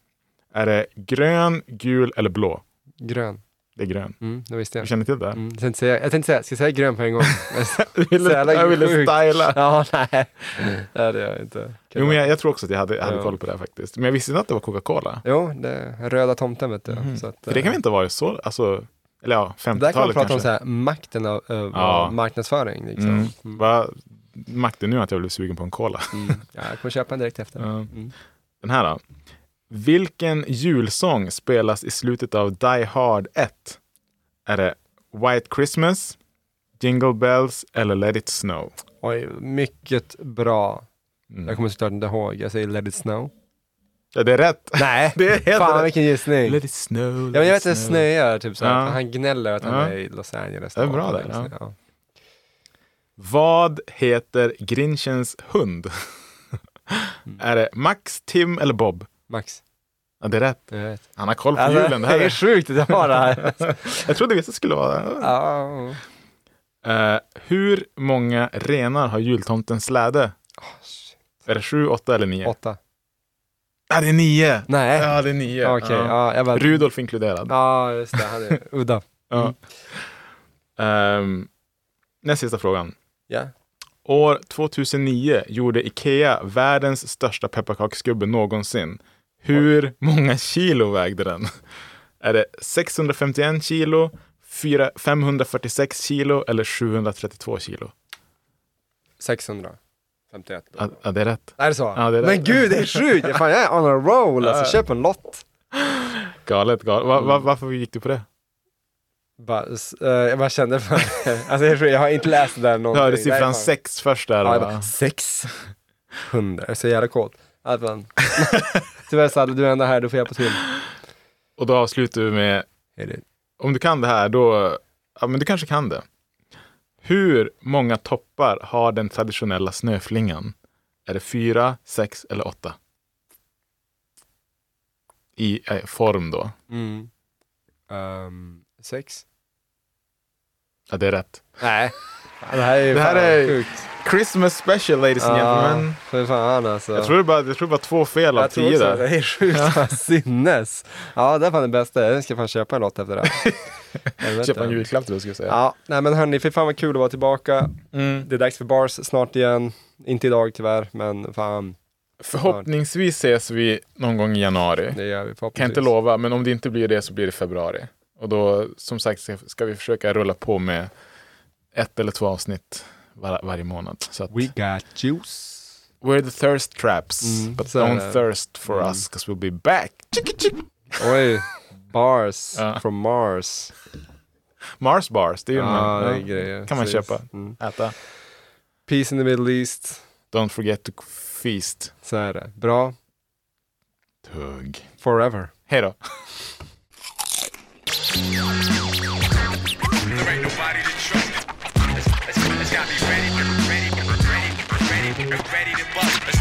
Är det grön, gul eller blå?
Grön.
Det är grön.
Mm, det visste
Du
jag.
känner till det?
Mm. Jag, tänkte säga, jag tänkte säga, ska jag säga grön på en gång?
Jag ville,
Så jävla
jag ville
sjukt.
styla.
ja, nej. nej. Det gör jag inte.
Jo, men jag, jag tror också att jag hade, jag hade
Ja.
koll på det här faktiskt. Men jag visste inte att det var Coca-Cola.
Jo, det är röda tomten vet du. Så att,
Mhm. För det kan
eh,
väl inte ha varit så, alltså, eller ja,
Där kan man prata
50-talet kanske.
om så här, makten av, av
Ja.
marknadsföring. Liksom.
Mm.
Mm.
Vad makten nu att jag blev sugen på en cola.
Mm. Ja, jag kommer köpa en direkt efter. Mm.
Den här då. Vilken julsång spelas i slutet av Die Hard 1? Är det White Christmas, Jingle Bells eller Let It Snow?
Oj, mycket bra.
Mm.
Jag kommer såklart inte ihåg. Jag säger Let it snow.
Ja, det är rätt.
Nej,
Det är helt
fan
rätt.
vilken gissning.
Let it snow.
Ja, men jag vet att
let it
det snöar, typ så här,
Ja.
för han gnäller att han
Ja.
är i Los Angeles.
Det är bra
snart,
där, ja.
liksom. Ja.
Vad heter Grinchens hund?
Mm.
är det Max, Tim eller Bob?
Max,
Ja, det är rätt.
jag vet.
Han har koll på
Alltså,
julen. Det här
är
är...
sjukt att jag har det här.
Jag trodde vissa skulle vara...
Ja.
Eh, hur många renar har jultomtens släde?
Oh, shit.
Är det sju, åtta eller nio?
Åtta.
Ja, det är nio!
Nej,
Ja, det är nio.
okej.
Ja.
ja. jag bara...
Rudolf inkluderad.
Ja, just det. Han är udda.
Ja. Ehm, näst sista frågan.
Ja.
År 2009 gjorde Ikea världens största pepparkaksgubbe någonsin. Hur många kilo vägde den? Är det 651 kilo, 4, 546 kilo eller 732 kilo?
651. då.
Ja, ja, det är rätt.
Är det så?
Ja, det är det.
Men gud, det är sjukt! Fan, jag är on a roll alltså. Köp en lott.
Galet, galet. Va, va, varför gick du på det?
Bara, s- eh, jag bara kände, fan, alltså, jag, tror- jag har inte läst det där
Du
någonting.
hörde
Det är
siffran
fan-
6 först där.
Ja, jag
va?
bara, sex. Hundra. Jag är så jävla kåt. Ja, fan. Tyvärr Salle, du är ändå här, du får hjälpa till.
Och då avslutar vi med,
Är det-
om du kan det här då, ja men du kanske kan det. Hur många toppar har den traditionella snöflingan? Är det fyra, sex eller åtta? I eh, form då.
Mm. Ehm, sex?
Ja, det är rätt.
Nej. Ja, Det här är ju
Det här
fan
är-
sjukt.
Christmas special ladies and
Ja,
gentlemen.
för fan alltså.
Jag tror det bara, jag tror det bara två fel av
Ah. Jag tror
tio
också att
där.
det är sjukt. Fan, Sinnes. Ja, det är fan det bästa. Jag ska fan köpa en lott efter det här. Helvete.
Köpa en julklapp till dig, skulle jag säga.
Ja, nej men hörni, för fan vad kul att vara tillbaka.
Mm.
Det är dags för bars snart igen. Inte idag tyvärr, men fan,
Förhoppningsvis ses vi någon gång i januari.
det gör vi
Kan
förhoppningsvis.
inte lova, men om det inte blir det så blir det februari. Och då, som sagt, ska- ska vi försöka rulla på med ett eller två avsnitt var, varje månad. Så att,
got juice.
we're the thirst traps,
Mm,
but
så är
don't
det.
thirst for
Mm.
us, because we'll be back. Chick, chick.
Oj, bars
Ja.
from Mars.
Mars bars, det är ju
Ja,
en,
det er är grejer.
kan man
Precis.
köpa,
Mm.
äta.
Peace in the Middle East.
Don't forget to feast.
Så är det. Bra.
Tugg.
Forever.
Hej då.
Let's, let's, let's gotta be ready, ready, ready, ready, ready to bust. Let's